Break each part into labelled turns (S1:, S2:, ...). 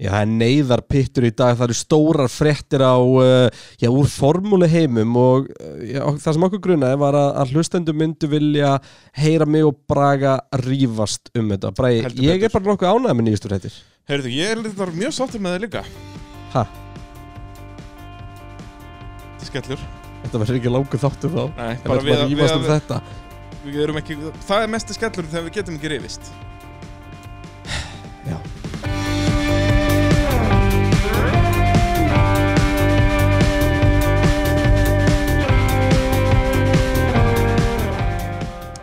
S1: Já, það er neyðar pittur í dag, það eru stórar fréttir á, uh, já, úr formúli heimum og uh, já, það sem okkur grunaði var að, að hlustendum myndu vilja heyra mig og Braga rífast um þetta. Bragi,
S2: Heldur
S1: ég er
S2: betur.
S1: bara nokkuð ánægð með nýjastur hættir.
S2: Heyrðu, ég er þetta mjög sáttur með það líka
S1: Ha,
S2: Þetta er skellur
S1: þetta verður ekki langur þáttur þá.
S2: Nei,
S1: Það verður bara að rífast um þetta.
S2: við erum ekki, það er mesti skellur þegar við getum ekki rifist
S1: Já.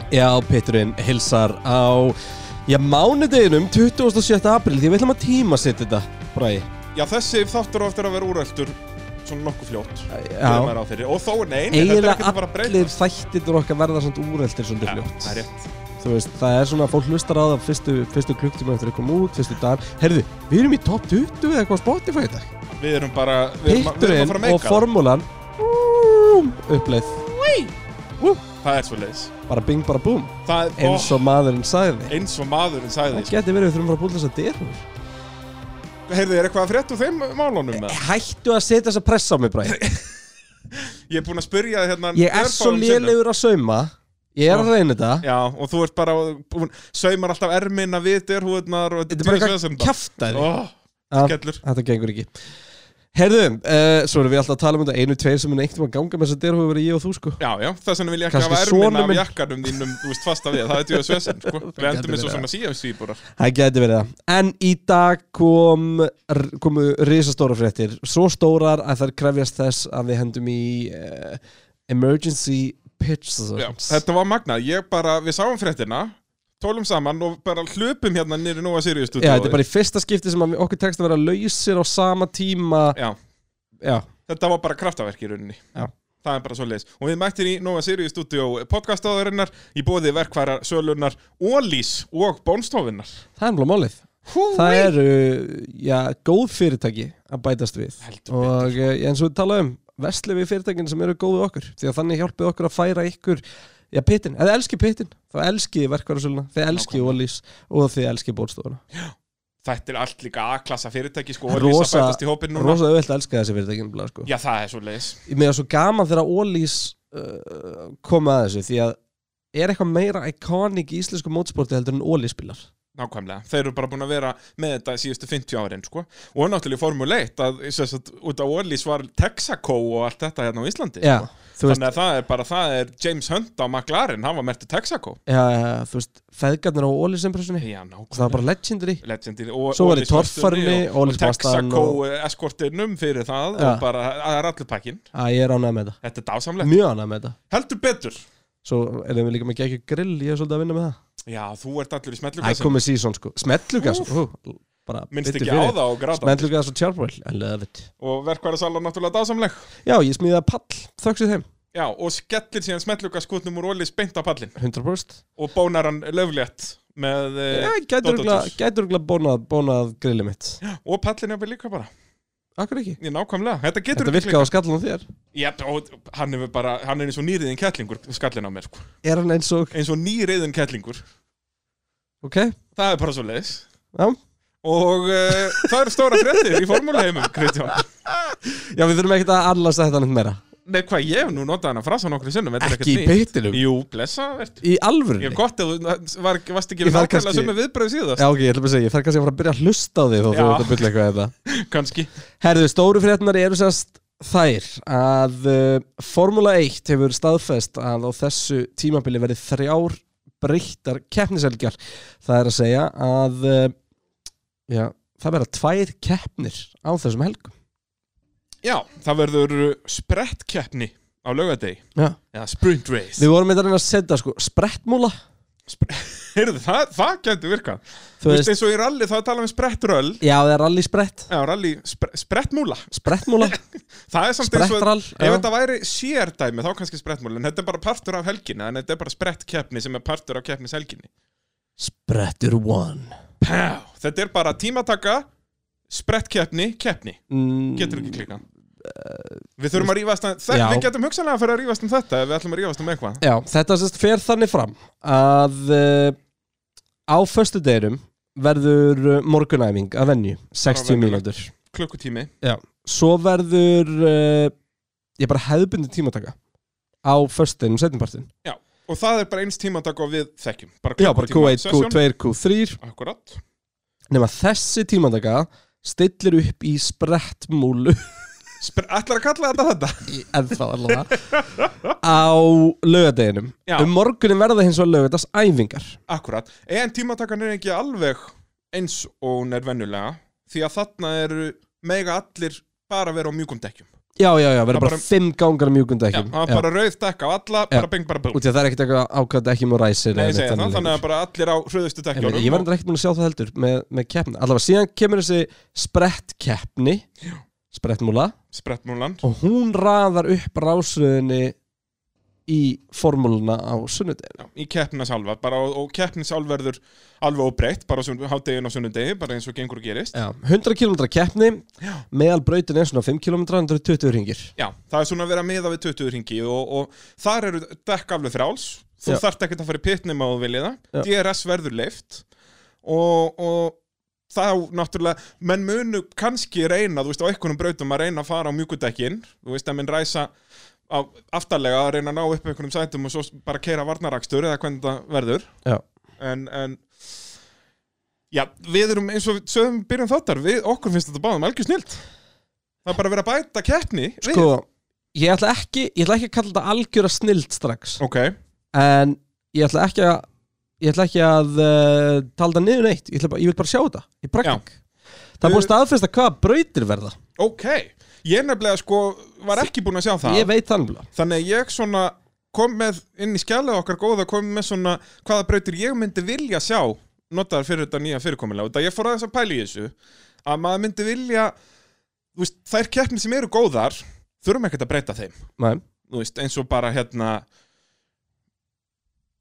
S1: Já, Peturinn hilsar á já, mánudeginum 27. april því við ætlum að tíma sitt þetta, Bræði.
S2: Já, þessi þáttur á eftir að vera úræltur svona nokkuð fljótt gerir
S1: Já,
S2: maður ráð fyrir. og þó er nein, þetta er
S1: eiginlega
S2: ekkert að fara að breyta
S1: allir þættir okkar verða svona úreldir svona fljótt.
S2: það er rétt
S1: Þú veist, það er svona að fólk hlustar á það fyrstu, fyrstu klukktíma eftir að koma út, fyrstu dag. Herðu, við erum í top 20 eða eitthvað á Spotify í dag.
S2: Við erum bara, við erum, að- við erum að fara að
S1: Pitturinn og
S2: meika form...
S1: formúlan uppleið
S2: Það er svo leiðis
S1: bara bing bara búm
S2: Það er
S1: eins
S2: eins og,
S1: og maðurinn sagði
S2: eins og maðurinn sagði
S1: það
S2: okay.
S1: geti verið við þurfum að fara að búla þess að dyrur
S2: Heyrðu, er eitthvað að frétt úr þeim málunum? eða?
S1: hættu að setja þess að pressa á mig bræði
S2: Ég er búinn að spyrja þig hérna
S1: ég er svo
S2: örfáum sinnum.
S1: lélegur að sauma ég er að reyna þetta
S2: Já, og þú ert bara, búin, saumar alltaf ermina við derhúðnar og
S1: þetta er bara eitthvað kjaftaði
S2: oh,
S1: Já,
S2: Skellur.
S1: þetta gengur ekki herðu, uh, svo erum við alltaf að tala um þetta einu, tveir sem mun einhvern veginn ganga með þess að dyr hefur verið ég og þú sko
S2: Já, já, þess vegna vil ég ekki
S1: Kannski
S2: hafa ermina
S1: sonur
S2: af
S1: minn-
S2: jakkanum þínum, þú veist, fasta við, það er djóða svesen, sko. Við
S1: gæti
S2: endum eins og
S1: verið
S2: svona síðansvíburar.
S1: Það geti verið það. En í dag kom, r- komu risastóra fréttir. Svo stórar að þær krefjast þess að við hendum í uh, emergency pitch
S2: Já,
S1: zones.
S2: þetta var magnað, ég bara, við sáum fréttina, tólum saman og bara hlupum hérna nýri nú að Sirius
S1: Já, þetta er bara í fyrsta skipti sem að við- okkur tekst að vera lausir á sama tíma.
S2: Já,
S1: Já,
S2: þetta var bara kraftaverk í rauninni.
S1: Já.
S2: Það er bara svo leis. Og við mættir í Nova Sirius Studio podcastáðurinnar í bóði verkværa sölunar Ólís og Bónstofinnar.
S1: það er mjög málið. Það eru, já, góð fyrirtæki að bætast við.
S2: Heldur
S1: Og eh, eins og við talaðum, vesli við fyrirtækin sem eru góð við okkur. Því að þannig hjálpið okkur að færa ykkur, já, pittin. Ef þið elskið pittin, þá elskið þið verkvarasöluna, þið elskið Ólís og þið elskið bóðstofuna.
S2: Þetta er allt líka A-klassa fyrirtæki, sko,
S1: Rosa-
S2: Ólís að bætast í hópin núna.
S1: Rósa auðvitað elska þessi fyrirtæki nefnilega, sko.
S2: Já, það er svo leis.
S1: Ég meða svo gaman þegar Ólís uh, kom að þessu því að er eitthvað meira iconic í íslensku mótsporti heldur en Ólís spilar
S2: Nákvæmlega, þeir eru bara búin að vera með þetta síðustu 50 árin sko. og náttúrulega formuleitt að, sem sagt, út af Orlís var Texaco og allt þetta hérna á Íslandi
S1: Já,
S2: sko.
S1: þú veist,
S2: þannig að það er bara það er James Hunt á McLaren, hann var mertu Texaco
S1: ja, þú veist feðgarnir á Ólís impressunni
S2: Já,
S1: það var
S2: nákvæmlega
S1: bara legendary
S2: Legendary og
S1: Svo var í
S2: Orlís
S1: torfarinni,
S2: Vesturni og,
S1: Ólís
S2: og
S1: Bastan
S2: Texaco
S1: og
S2: eskortinum fyrir það
S1: Já.
S2: og bara, það er allir pakkin
S1: að ég er ánægð með þetta,
S2: Þetta er dásamlegt,
S1: mjög ánægð með þetta
S2: heldur betur
S1: Svo erum við líka með geggjur grill, ég er svolítið að vinna með það
S2: Já, þú ert allir í
S1: Æ,
S2: smetlugasum
S1: komið síðan sko, smetlugas bara
S2: Minnst
S1: biddu
S2: ekki á
S1: fyrir.
S2: það og gráta
S1: Smellugas og tjárból, I love it
S2: og verkværa sala náttúrulega dásamleg
S1: Já, ég smíðaði pall, þöksuð þeim,
S2: Já, og skellir síðan smetlugaskutnum úr Orlís beint á pallin
S1: 100%
S2: og bónar hann löflétt með
S1: Já,
S2: eh,
S1: gætur
S2: Dota
S1: örugglega-
S2: Juice.
S1: gætur örugglega bónað, bónað grillið mitt
S2: og pallin er líka bara
S1: Akkur ekki
S2: ég nákvæmlega, þetta getur
S1: Þetta virkaði á skallan á þér
S2: Jep, og hann er bara, hann er eins og nýriðin kettlingur skallin á mér, sko.
S1: Er hann eins og,
S2: eins og nýriðin kettlingur
S1: ok
S2: það er bara svo leiðis
S1: Já.
S2: og uh, það eru stóra fréttir í formúleheimum, Kristján
S1: Já, við þurfum ekkert að allast þetta neitt meira
S2: Nei, hvað, ég hef nú notað hann að frasa nokkru sinnum þetta er
S1: Ekki í
S2: ekkert nýtt.
S1: pittinum
S2: Jú, blessa, verður
S1: Í alvörunni
S2: Ég er gott að þú var, varst ekki
S1: Ég
S2: við
S1: þarf
S2: nákvæmlega
S1: kannski-
S2: sem er viðbröðu síðast,
S1: Já, ok, ég ætla bara að segja Ég þarf kannski að fara að byrja að hlusta á því Þó þú
S2: Já.
S1: ert að bylla eitthvað hérna. þetta
S2: kannski
S1: Herðu, stóru fréttnar eru sérst þær Að uh, Formula 1 hefur staðfest Að á þessu tímabili verið þrjár Breyttar keppniselgjar Það er að segja að uh, Já, það verða tvær keppnir Á þessum helgum
S2: Já, það verður sprettkeppni á laugadegi
S1: Já.
S2: eða sprint race
S1: Við vorum með að reyna að setja sko Sprettmúla
S2: Heyrðu, það, það getur virkað Þú
S1: Þú
S2: veist
S1: veist,
S2: eins og í rally þá er talað um sprettröll
S1: já, það er rally sprett
S2: Já, rally, spre, sprettmúla
S1: Sprettmúla,
S2: Það er samt eins og
S1: sprettrall
S2: Ef
S1: já.
S2: þetta væri sérdæmi þá kannski sprettmúla En þetta er bara partur af helginni En þetta er bara sprettkeppni sem er partur af keppnis helginni
S1: Sprettur one
S2: Pá, Þetta er bara tímataka Sprettkeppni, keppni
S1: mm,
S2: Getur ekki klika Við þurfum að rífast um þetta
S1: Já.
S2: Við getum hugsanlega að fyrir að rífast um þetta Ef við ætlum að rífast um eitthvað
S1: Já, þetta sérst fer þannig fram að uh, á eh, föstudeginum verður uh, morgunæfing að venju, 60
S2: venjulegt.
S1: mínútur
S2: klukkutími
S1: svo verður uh, ég bara hefðbundi tímataka á föstinum setjumpartin
S2: og það er bara eins tímatak og við þekkjum bara
S1: já, bara
S2: klukkutíma
S1: Q1,
S2: session.
S1: Q2, Q3
S2: Akkúrat.
S1: nema þessi tímataka stillir upp í sprettmúlu
S2: Spyr- ætlar að kalla þetta þetta
S1: en þá allavega á lögadeginum
S2: Já.
S1: um morgunin verða hins vegar lögadags æfingar
S2: Akkurat, en tímatakan er ekki alveg eins og hún er venjulega því að þarna eru mega allir bara vera á mjúkum dekkjum
S1: já, já, já, verður
S2: Það
S1: bara,
S2: bara-
S1: fimm gangar mjúkund
S2: Já,
S1: ekkjum
S2: það er bara rauð dekk á alla, bara bing bara bú
S1: út í að það er ekkert eitthvað ákvæmt ekki mjög ræsir
S2: Nei,
S1: eða
S2: ég segja
S1: neitt
S2: það,
S1: annað lengur.
S2: þannig að bara allir á
S1: Ég
S2: hröðustu
S1: meina,
S2: dekkjónum
S1: Ég var endur ekkert búin að sjá það heldur með, með keppni Allavega síðan kemur þessi sprett keppni Sprettmúla
S2: og sprettmúlan
S1: Og hún raðar upp rásröðinni Í formúluna á sunnudeginu
S2: Já, í keppnisálfa, bara og, og keppnisálf verður alveg óbreytt, bara á sunn- hádeginu og sunnudegi, bara eins og gengur og gerist.
S1: Já, 100 km keppni
S2: Já.
S1: Meðal brautin er svona 5 km 120 ringir
S2: Já, það er svona að vera meða við 20 ringi og, og þar eru dekk alveg fráls, þú
S1: Já.
S2: þarft ekkert að fara í pitnum á þú viljið
S1: Já.
S2: það, DRS verður leift og, og þá náttúrulega, menn munu kannski reyna, þú veist, á einhvernum brautum að reyna að fara á mjúkudekkin, þú veist, að menn ræsa á aftarlega að reyna að ná upp einhvernum sætum og svo bara keira varnarakstur eða hvernig það verður
S1: Já.
S2: en, en já, við erum eins og við sögum byrjum þáttar, við, okkur finnst þetta báðum algjör snilt það er bara verið að bæta keppni við.
S1: Sko, ég ætla ekki Ég ætla ekki að kalla þetta algjöra snild strax
S2: ok,
S1: En ég ætla ekki að Ég ætla ekki að uh, tala það niður neitt ég, ætla bara, ég vil bara sjá þetta í praktik Það er búin
S2: Uh,
S1: staðfesta hvað brautir verða
S2: ok ég nefnilega sko var ekki búin að sjá það
S1: Ég veit þannig
S2: þannig að ég svona kom með inn í skjalið okkar góða kom með svona hvaða brautir ég myndi vilja sjá notaðar fyrir þetta nýja fyrirkomulega og það ég fór aðeins að pæla í þessu að maður myndi vilja þú veist, þær keppni sem eru góðar þurfum ekkert að breyta þeim
S1: Nei,
S2: þú veist, eins og bara hérna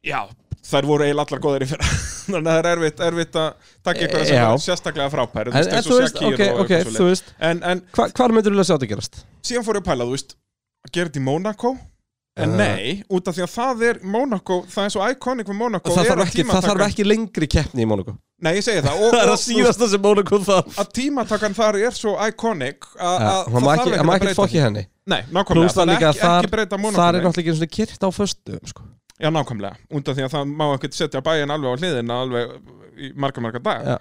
S2: já, þær voru eiginlega allar góðar í fyrra þannig að það er erfitt, erfitt að taka ykkur sem
S1: E, Já.
S2: er sérstaklega frábær
S1: en, en þú veist, ok, ok, þú veist
S2: en, en
S1: hva, Hvar myndir þú að sjá þetta gerast?
S2: síðan fór ég að pæla, þú veist að gera þetta í Monaco
S1: Eh.
S2: en nei, út af því að það er Monaco, það er svo iconic við Monaco
S1: Það
S2: er
S1: þarf,
S2: að
S1: ekki, það þarf
S2: tímatakan-
S1: ekki lengri keppni í Monaco
S2: nei, ég segi það, og,
S1: Það er
S2: og,
S1: að síðasta sem Monaco þarf
S2: og að tímatakan þar er svo iconic að
S1: Ja,
S2: að
S1: Það má ekki, það má ekki fokki henni
S2: nei, nákvæmlega,
S1: Plús það líka að
S2: ekki,
S1: þar
S2: ekki breyta
S1: þar
S2: Monaco
S1: er
S2: neitt.
S1: náttúrulega ekki einu sinni kyrkt á föstu sko.
S2: Já, nákvæmlega, undan því að það má ekkert setja bæinn alveg á hliðina alveg í marga marga dag
S1: Já.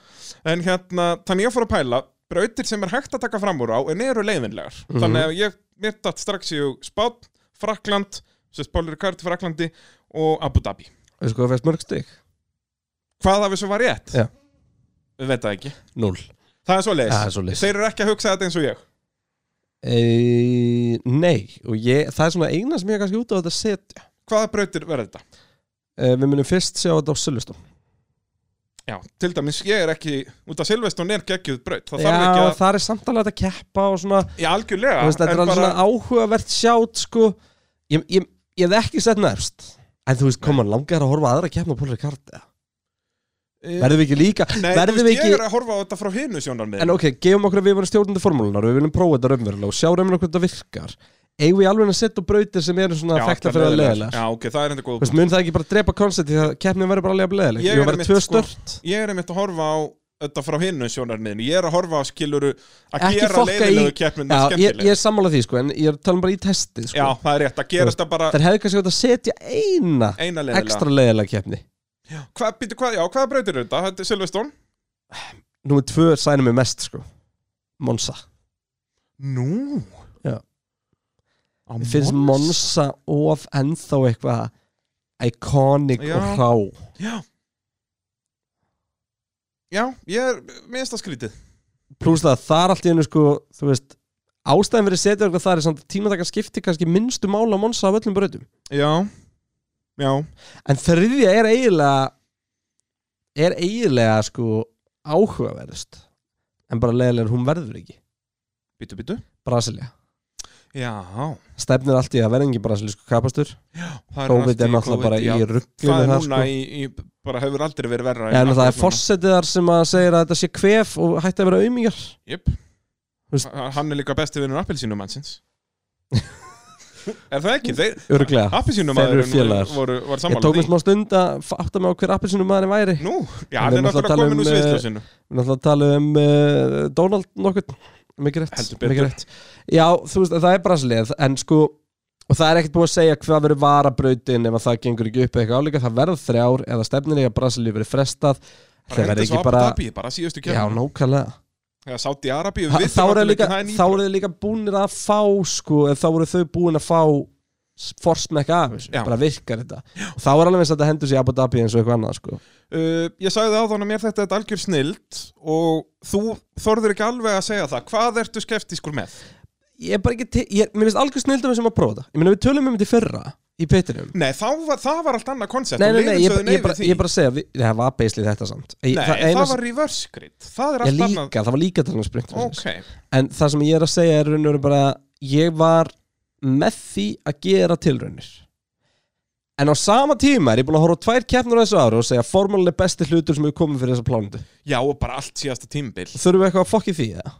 S2: En hérna, þannig ég fór að pæla brautir sem er hægt að taka fram úr á en eru leiðinlegar
S1: Mhm.
S2: Þannig að ég, mér datt strax í hug Spán, Frakland sem spálir kart í Fraklandi og Abu Dhabi
S1: Veist hvað það fæst mörg stig?
S2: Hvað af þessu var rétt?
S1: Já.
S2: Við veit það ekki
S1: Null
S2: Það er svo leis
S1: Það er svo
S2: Þeir eru ekki að hugsa þetta eins og ég
S1: e, Nei, og ég, það er svona eina sem ég er kannski út á þetta setja
S2: Hvaða brautir verður þetta?
S1: e, Við munum fyrst sjá þetta á Silveston
S2: Já, til dæmis, ég er ekki út af Silveston er geggjuð braut Það
S1: Já,
S2: þarf ekki að,
S1: það er samtalega að keppa og svona
S2: já, algjörlega
S1: Þú veist, þetta er
S2: en
S1: alveg
S2: bara-
S1: svona áhugavert sjátt sko. ég, ég, ég hef ekki sett nefst en þú veist, koma, langar að horfa á aðra keppna á Pólari Karta
S2: Eh,
S1: verðum við ekki líka,
S2: Nei,
S1: verðum
S2: þú
S1: við
S2: veist,
S1: ekki
S2: ég er að horfa á þetta frá hinu sjónarmið
S1: en ok, gefum okkur að við varum stjórnandi formúlunar og við viljum prófa þetta raunverulega og sjá raunverulega hvernig það virkar eigum við alveg að setja á brautir sem eru svona þekta fyrir að leðilega
S2: Já, ok, það er enda góð
S1: mun það ekki bara drepa koncepti þegar keppnin verður bara alveg að
S2: Ég
S1: leðilega ég
S2: er
S1: verður
S2: einmitt,
S1: tvö
S2: sko,
S1: stört
S2: Ég er einmitt að horfa á þetta frá hinu sjónarmiðinu Ég er að horfa á skiluru að
S1: Ekki
S2: gera
S1: fokka í-
S2: leiðilegu keppnum
S1: Já, ég, ég er sammála því sko, en ég er að tala um bara í testið
S2: Já,
S1: sko.
S2: það er rétt, að gera þetta bara
S1: Það hefði kannski átt að setja eina
S2: eina leiðilega
S1: ekstra leiðilega keppni
S2: Hva, býtu, hva, Já, hvaða brautir eru þetta? Þetta er Silveston
S1: Númer tvö sænum við mest sko Monsa
S2: Nú
S1: Já.
S2: Á
S1: Mér finnst Monsa of ennþá eitthvað Iconic
S2: Já.
S1: og hrá
S2: Já Já, ég er minnst að skrítið
S1: Plús það að það er allt í hennu sko Þú veist Ástæðan fyrir að setja eitthvað þar er samt að tímataka skipti kannski minnstu mála Monsa af öllum brautum
S2: Já Já
S1: En þriðja er eiginlega Er eiginlega sko áhugaverðust En bara leiðilega hún verður ekki
S2: Býtu, býtu
S1: Brasilia
S2: Já
S1: Stefnir allt í að verða engin brasilísku kapastur
S2: Það
S1: COVID er
S2: allt í
S1: náttúrulega bara
S2: já.
S1: í
S2: Það er
S1: rugglinu
S2: núna í, í, bara hefur aldrei verið verra
S1: Já, sko. en það er fórsetið þar sem að segir að þetta sé kvef og hætti að vera aumingar
S2: Jip. Hann er líka besti vinnur appelsínum mannsins Er það ekki? Þeir,
S1: Örglega,
S2: Appisínum
S1: Ah, þeir eru félagar.
S2: voru, var
S1: Ég
S2: sammála
S1: tók mér smá stund að f- átta mig á hver appelsinu maðurinn væri
S2: Nú, já,
S1: Hann er
S2: það er
S1: náttúrulega að tala um,
S2: náttúrulega komin úr
S1: eh,
S2: sviðsljósinu
S1: Við náttúrulega talið um uh, Donald nokkurn Mikið rétt,
S2: Heldur betur.
S1: mikið rétt Já, þú veist, það er braslið En sko, og það er ekkert búið að segja hvað verður varabrautin Ef að það gengur ekki upp eða eitthvað álíka Það verður þrjár eða stefnir í að braslið verður frestað Það verður ekki bara
S2: Abu Dhabi, bara síðustu
S1: Já,
S2: kemur
S1: nákvæmlega
S2: Já, Sáti Arabi,
S1: Þa-
S2: við
S1: Þá eru
S2: náttúrulega
S1: þau líka,
S2: ekki, það er ný-
S1: þá eru þau líka búnir að fá sko, eða þá eru þau búin að fá forsmekka af þessu,
S2: Já.
S1: bara virkar þetta og þá er alveg eins að þetta hendur sér Abu Dhabi eins og eitthvað annað sko.
S2: Uh, ég sagði á þannig að mér þetta er algjör snild og þú þorður ekki alveg að segja það Hvað ertu skeptískur með?
S1: ég er bara ekki, til- ég, mér finnst algjör snildum sem að prófa þetta, ég meina við tölum um þetta í fyrra í pittinum,
S2: Nei, þá var, það var allt annað koncept
S1: nei
S2: og
S1: nei nei,
S2: liðin
S1: ég,
S2: sögðu
S1: bara- ég, bara,
S2: við því.
S1: ég bara segja, við, það var beislið þetta samt ég,
S2: Nei, það, var reverse grid Það er
S1: ég,
S2: allt
S1: líka, það var líka þannig sprint
S2: annað Ok,
S1: en það sem ég er að segja er raunur bara, ég var með því að gera tilraunir en á sama tíma er ég búin að horfa á tvær keppnur á þessu ári og segja formulega besti hlutur sem hefur komið fyrir þessa plánundu
S2: já og bara allt síðasta tímbil
S1: þurfum við eitthvað að fokki því eða?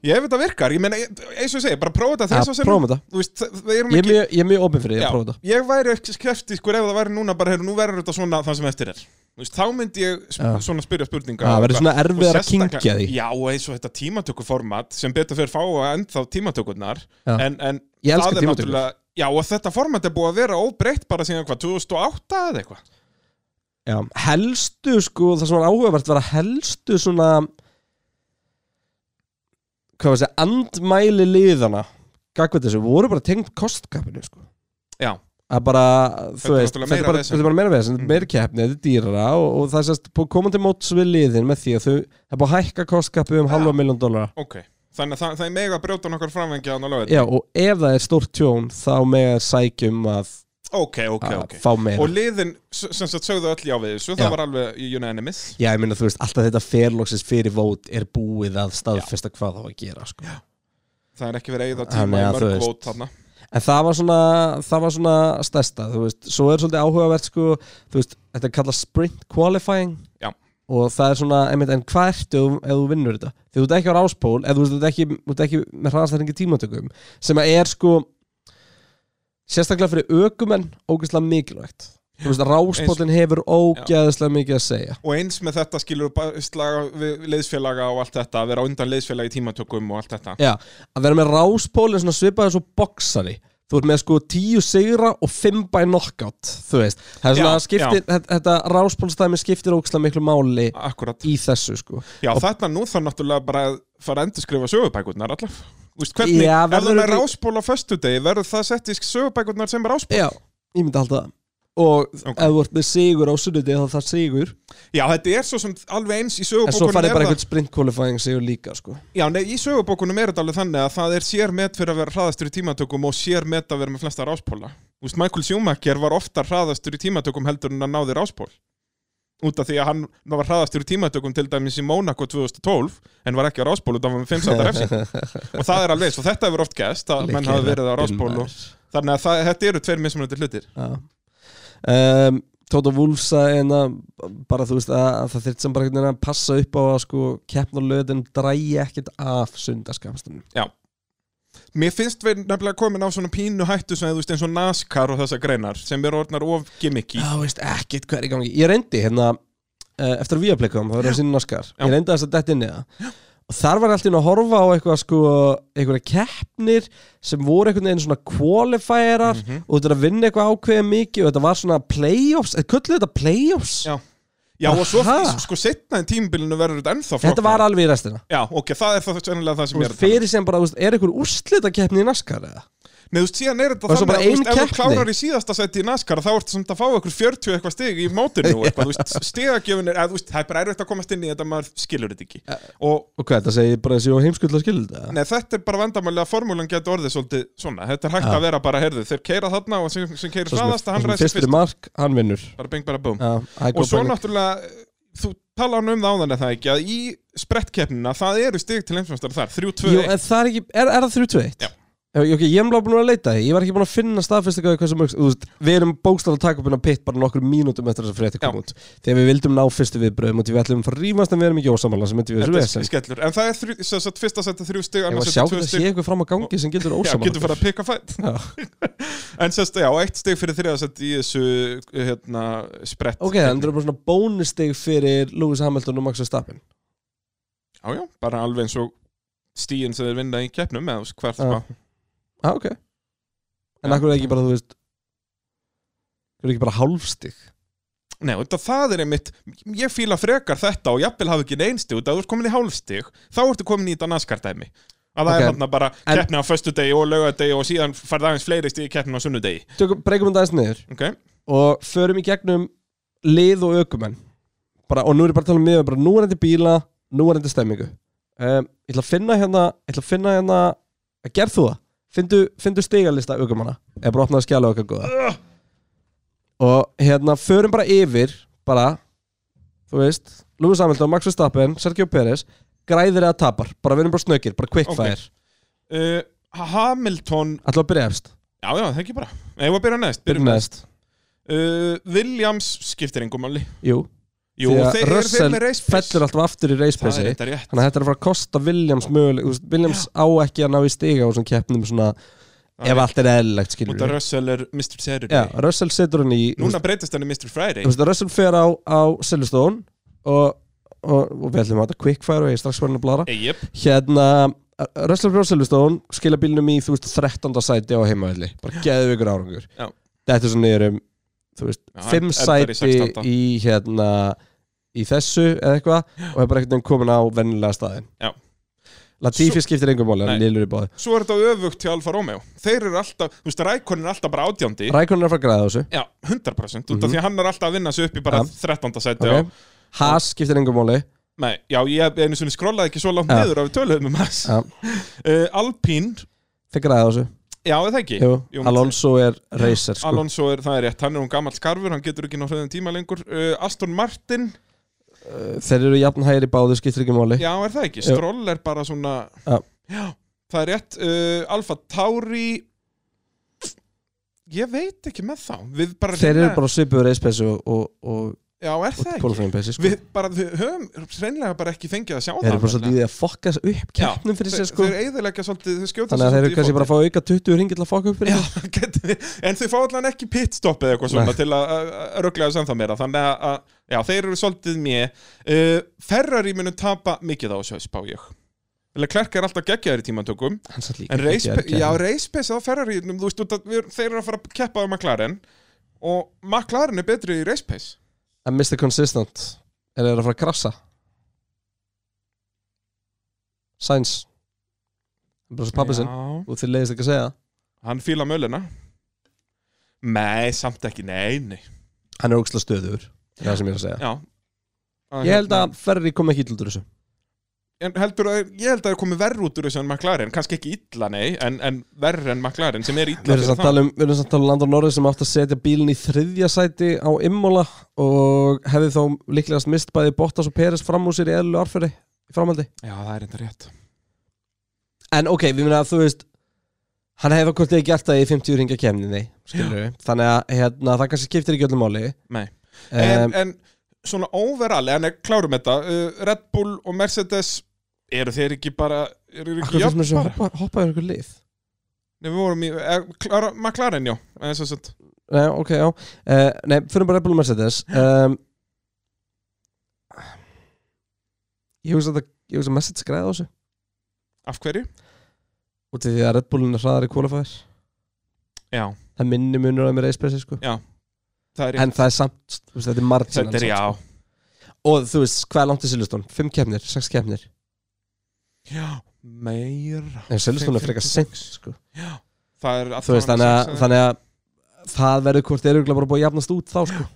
S2: Ég hef þetta virkar, ég meina, ég- eins og ég segi, bara prófa þetta þess
S1: að
S2: að sem
S1: prófum þetta
S2: Þú veist, það- við erum
S1: ég er
S2: ekki
S1: mjög- ég er mjög opinn fyrir því
S2: Já,
S1: að prófa þetta
S2: ég væri ekki skeptískur ef það væri núna bara, heyrðu, nú verður þetta svona það sem eftir er Þú veist, þá myndi ég sp
S1: Já.
S2: svona spyrja spurninga
S1: það
S2: og
S1: verður
S2: eitthvað.
S1: svona
S2: Og
S1: erfiðar að
S2: sérstaklega-
S1: kingja því
S2: Já, og eins og þetta tímatökuformat sem betur fyrir fá að ennþá tímatökurnar
S1: Já.
S2: en, en
S1: Ég elska
S2: það er
S1: tímatökur.
S2: náttúrulega- Já, og þetta format er búið að vera óbreytt bara síðan hvað, 2008 eða eitthvað
S1: Já, helstu sko, það sem var áhugavert var að helstu svona hvað var þessi andmæli liðana gagveit þessu, voru bara tengd kostkapinu sko.
S2: Já,
S1: að bara, þú
S2: Þetta er
S1: veist,
S2: náttúrulega
S1: þetta er
S2: meira
S1: bara,
S2: vesen.
S1: þetta er bara meira veginn, þetta
S2: Mm.
S1: er meira keppni, þetta er dýrara og, og það er sérst, búið að koma til móts við liðin með því að þau, það er búið að hækka kostkapu um
S2: Já.
S1: halva miljón dólara
S2: ok Þannig að það, það er mega að brjóta nokkar framvengi að nálega
S1: Já, og ef það er stórt tjón þá með sækjum um að,
S2: Ok, ok,
S1: að
S2: ok
S1: fá meira
S2: Og liðin, s- sem sagt, sögðu öll já við þessu
S1: Já.
S2: Það var alveg unanimous
S1: Já, ég meina, þú veist, alltaf þetta ferlóksins fyrir vót er búið að staðfesta hvað þá að gera sko.
S2: Það er ekki verið eigið að
S1: Þannig
S2: tíma í
S1: að þú
S2: mörg
S1: veist.
S2: vót þarna
S1: En það var svona, það var svona stærsta, þú veist, svo er svolítið áhugavert sko, þú veist, þetta er kallað sprint qualifying
S2: Já.
S1: og það er svona, einmitt, en hvað ertu ef- ef þú vinnur þetta? Því þú ert ekki á ráspól eða þú veist, þú ert ekki, þú ert ekki með hraðastæringi tímatökum sem að er sko sérstaklega fyrir ökumenn ógeðslega mikilvægt þú veist, ráspólinn hefur ógeðslega mikið að segja
S2: Og eins með þetta skilur bara slaga við liðsfélaga og allt þetta Að vera á undan liðsfélaga í tímatökum og allt þetta
S1: Já, að vera með ráspólinn svona svipaði svo boksari Þú ert með sko tíu sigra og fimm bæ knockout, þú veist Það er svona
S2: Já,
S1: að skiptir, þetta, þetta ráspólstæmi skiptir ókslega miklu máli
S2: Akkurat
S1: í þessu sko
S2: Já, þarna nú þarf náttúrulega bara að fara að endurskrifa sögubækurnar allar Vist, hvernig,
S1: Já,
S2: ef
S1: verður
S2: það er
S1: ekki-
S2: ráspól á föstudegi verður það sett í sögubækurnar sem er ráspól
S1: Já, ég myndi halda það Og
S2: Ok.
S1: ef þú ert með sigur á sunnundi þá er það sigur
S2: Já, þetta er svo sem alveg eins í
S1: En svo
S2: sögubókunum
S1: farið
S2: er
S1: bara
S2: það
S1: eitthvað sprint qualifying sigur líka sko
S2: Já, nei, í sögubókunum er þetta alveg þannig að það er sér met fyrir að vera hraðastur í tímatökum og sér met að vera með flesta ráspóla Vist, Michael Schumacher var oftar hraðastur í tímatökum heldur en að náði ráspól út af því að hann var hraðastur í tímatökum til dæmis í Monaco 2012 en var ekki á ráspól út af hann með 5 sæta refsing og það er alveg, svo þetta hefur oft gæst að menn hafa verið á ráspól og Þannig að það, þetta eru tveir mismunandi hlutir
S1: um, Tóta Wolfs að eina, bara þú veist að, að það þyrft sem bara einhvern veginn að passa upp á að sko keppnulegðin drægi ekkert af sundarskapstunum
S2: Mér finnst við nefnilega komin á svona pínu hættu sem þú veist eins og NASCAR og þessa greinar sem eru orðnar of gimmicky
S1: Já, veist ekkert hvað er í gangi Ég reyndi hérna, uh, eftir að við aðpleikum það var að sinna naskar,
S2: Já.
S1: ég reyndi þess að þetta inn í það og þar var ég alltaf inn að horfa á eitthvað sko, eitthvað keppnir sem voru einhvern veginn svona qualifierar
S2: Mhm.
S1: og þetta er að vinna eitthvað ákveða mikið og þetta var svona playoffs, eða kölluðu þetta playoffs?
S2: Já, Já og svo
S1: Aha.
S2: sko setna í tímubilinu verður þetta ennþá
S1: þetta var
S2: flóknara.
S1: alveg í restina
S2: Já, ok, það er það sennilega það
S1: Þú
S2: sem ég er
S1: veist,
S2: að tala um.
S1: fyrir sem bara, þú veist, er einhver úrslita keppni í naskar eða?
S2: Nei, þú veist, síðan er
S1: Var
S2: þetta
S1: svo
S2: þannig
S1: bara
S2: að þú veist,
S1: ein
S2: ef þú
S1: keppni?
S2: klárar í síðasta seti í NASCAR þá ertu samt að fá okkur 40 eitthvað stig í mótinu og eitthvað, þú veist, stigagjöfun er, eða, þú veist, það er bara erfitt að komast inn í þetta maður skilur þetta ekki
S1: Eh.
S2: og
S1: Og hvað, þetta segir bara þessi og heimskullar skilur þetta?
S2: Nei, þetta er bara vandamálið að formúlan getur orðið svolítið svona. Þetta er hægt
S1: Já.
S2: að vera bara, heyrðu, þeir keira þarna og sem, sem keira
S1: Svo sem-
S2: hraðast að hann
S1: svo sem
S2: ræðist fyrst.
S1: Fyrstur í mark, hann vinnur
S2: Bara bing, bara búm.
S1: Já, I go
S2: og svo
S1: back.
S2: náttúrulega, þú tala hann um það áðan er það ekki, að í sprettkeppnina, það eru stig til heimsmeistar þar, 3-2-1.
S1: Jú, en það er ekki, er, er það 3-2-1?
S2: Já.
S1: Ég, ok, ég er bara búin að vera að leita því, ég var ekki búin að finna staðfestingaði hversu mörg, þú veist, við erum bókstaflega að taka upp inn á pitt bara nokkur mínútum eftir þess að frétti kom
S2: Já.
S1: út þegar við vildum ná fyrstu viðbröðum og því við ætlum að fara að rýmast en við erum ekki ósamála sem myndi við þessu
S2: Þetta
S1: vesen
S2: er skellur En það er þrjú, sem sagt, fyrsta setta þrjú stig
S1: Ég var
S2: annars
S1: að sjá
S2: setta
S1: hvernig
S2: tvö
S1: það sé
S2: stig
S1: eitthvað fram á gangi sem getur
S2: Já,
S1: ósamála
S2: getur farið að pikka fætt En sérst, já, eitt stig fyrir þriða sett í þessu hérna, sprett
S1: Ok, þannig er bara svona bónustig fyrir Lewis Hamilton og Max Verstappen
S2: Já, já, bara alveg eins og stíin sem þeir vinna í keppnum eða þú veist, hvar það
S1: Já. ah, ok En
S2: sko. Já.
S1: akkur er ekki bara, þú veist er ekki bara hálfstig
S2: Nei, út af það er einmitt ég fíla frekar þetta og jafnvel hafi ekki einstig út af þú ert komin í hálfstig þá ertu komin í þetta naskardæmi að það
S1: Ok.
S2: er hann bara
S1: En-
S2: keppni á föstudegi og lögadegi og síðan farið aðeins fleiri stig í keppnum á sunnudegi
S1: Tökum, breykum þetta aðeins niður
S2: okay?
S1: og förum í gegnum lið og ökumenn bara, og nú er ég bara að tala um miðan bara núverandi bíla, núverandi stemmingu um, ég ætla að finna hérna ég ætla að finna hérna, að gerð þú það findu, findu stigalista ökumanna eða bara opnaðu skjala okkar góða og hérna förum bara yfir bara, þú veist Lewis Hamilton, Max Verstappen, Sergio Perez græðir eða tapar, bara við erum bara snöggir bara quickfire, okay.
S2: uh, Hamilton
S1: ætla að byrja efst
S2: Já, já, það ekki bara Nei, við byrjum næst
S1: byrjum neðst,
S2: Uh, Williams skiptir engum máli
S1: jú,
S2: Jú,
S1: því að
S2: þeir eru þeir með
S1: Russell
S2: race pace
S1: fellur alltaf aftur í race
S2: Það er
S1: pace
S2: þetta rétt
S1: Þannig að þetta er að fara að kosta Williams möguleg úst, Williams á ekki að ná í stiga og svona keppnum svona,
S2: Það
S1: ef
S2: er-
S1: allt er eðlilegt skilur
S2: Út af Russell er Mr. Saturday
S1: Já, Russell setur hann í
S2: Núna breytist hann í Mr. Friday
S1: úst, Russell fer á, á Silverstone og, og, og við ætlum að þetta quickfire og ég er strax farin að blara
S2: Eyjip
S1: Hérna, Russell fer á Silverstone skila bílnum í, þú veist, 13. sæti á heimavelli bara geðu ykkur árangur
S2: Já.
S1: Þetta er svona yfir um, þú veist,
S2: Já,
S1: 5
S2: endar í
S1: sæti
S2: 16.
S1: í hérna í þessu eða eitthvað og er bara einhvern veginn komin á vennilega staðin
S2: Já.
S1: Latifi skiptir engum máli, hann
S2: Nei.
S1: lýlur í báði
S2: Svo er þetta öfugt til Alfa Romeo Þeir eru alltaf, þú veist, Rækonin er alltaf bara átjándi
S1: Rækonin er að fara að græða á þessu
S2: Já, 100% Út
S1: Mhm.
S2: af því að hann er alltaf að vinna sig upp í bara
S1: Ja.
S2: 13. sæti
S1: okay.
S2: og,
S1: Haas skiptir engum máli
S2: Nei, já, ég einu sinni skrollaði ekki svo langt
S1: Ja.
S2: niður af töluðum um hans
S1: Ja.
S2: uh, Alpín,
S1: Þeir græða á þessu
S2: já, er það ekki
S1: Jú,
S2: Jú,
S1: Alonso er racer sko.
S2: Alonso er, það er rétt, hann er um gammal skarfur Hann getur ekki ná hröðum tíma lengur uh, Aston Martin,
S1: Eh, Þeir eru jafnhægir í báðu, skiptir ekki máli
S2: já, er það ekki
S1: Jú.
S2: Stroll er bara svona
S1: Ja.
S2: Já, það er rétt uh, Alfa Tauri Ég veit ekki með þá Við bara hérna.
S1: Þeir eru
S2: hreinlega-
S1: bara svipuð reyspessu og, og, og,
S2: Já, er það
S1: og
S2: ekki?
S1: kólfræðinpessu sko.
S2: Við bara, við höfum reynlega bara ekki fengið að sjá
S1: Þeir eru bara
S2: það
S1: svolítið í því að fokka þessu upp
S2: Já,
S1: keppnum fyrir sér
S2: Þeir-
S1: sko.
S2: Þeir eiðilegja svolítið, þeir skjóta
S1: Þannig að þeir eru kannski bara að fá auka 20 ringi til að fokka upp fyrir
S2: Já,
S1: þetta.
S2: geti, en þau fá allan ekki pitstopp eða eitthvað svona
S1: Nei.
S2: til að rugglega sem það meira þannig að, að já, þeir eru svolítið mér uh, Ferrari munu tapa mikið á þessu spá ég Klerk er alltaf geggjaður í tímantökum
S1: Hann satt líka
S2: en
S1: ekki að
S2: race,
S1: gera.
S2: já, race pace á Ferrari þú veist, út að við- þeir eru að fara að keppa á McLaren og McLaren er betri í race pace
S1: En Mr. Consistent Er þeir að fara að krassa Sainz Bara svo pappi sinn
S2: Já.
S1: Og þeir leiðist ekki að segja það.
S2: Hann fíla möluna Nei, samt ekki, nei, nei
S1: Hann er ógstlega stöður Það er það sem ég er að segja
S2: Já
S1: Ég held að Ferrari kom ekki illa út úr þessu
S2: en heldur að, Ég held að það er komið verð út úr þessu en McLaren Kannski ekki illa, nei, en, en verð en McLaren sem er
S1: Við
S2: illa
S1: erum samt að tala um, við erum samt að tala um Landon Norris sem átti að setja bílinn í þriðja sæti á Immola og hefði þá líklegast mist bæði Bottas og Peres fram úr sér í eðlu árferði í framhaldi
S2: Já, það er enda rétt
S1: En ok, við minna að þú veist hann hefði okkur þegar gert það í 50 ringja kemninni skilur þannig að hérna, það kannski skiptir ekki öllum máli
S2: Nei.
S1: um,
S2: en, en svona overall, en ég klárum þetta uh, Red Bull og Mercedes Eru þeir ekki bara Eru þeir ekki
S1: Akkur finnst mér
S2: jafn
S1: svo
S2: eh, bara?
S1: hoppa, hoppa yfir ykkur lið
S2: Nei, við vorum í eh, klára, McLaren, já en, svo, svo,
S1: Nei, ok, já uh, Nei, fyrir bara Red Bull og Mercedes um, Ég hugsa að, það- ég hugsa að Mercedes græði á þessu
S2: Af hverju?
S1: út af því að Red Bullin er hraðar í kólafæðir
S2: Já,
S1: það minni munur að mér eisbessi sko.
S2: það er
S1: en það er samt, þú veist, þetta er margin
S2: Þetta er, já,
S1: og þú veist, hvað er langt í Silvestón? 5 kefnir, 6 kefnir sko.
S2: Já, meira
S1: en Silvestón er
S2: Fimm,
S1: frekar
S2: fimm,
S1: sent sko.
S2: Það er
S1: þú veist,
S2: allavega
S1: þannig að,
S2: sex-
S1: þannig að það verður hvort þeir eru bara búið að jafnast út þá sko.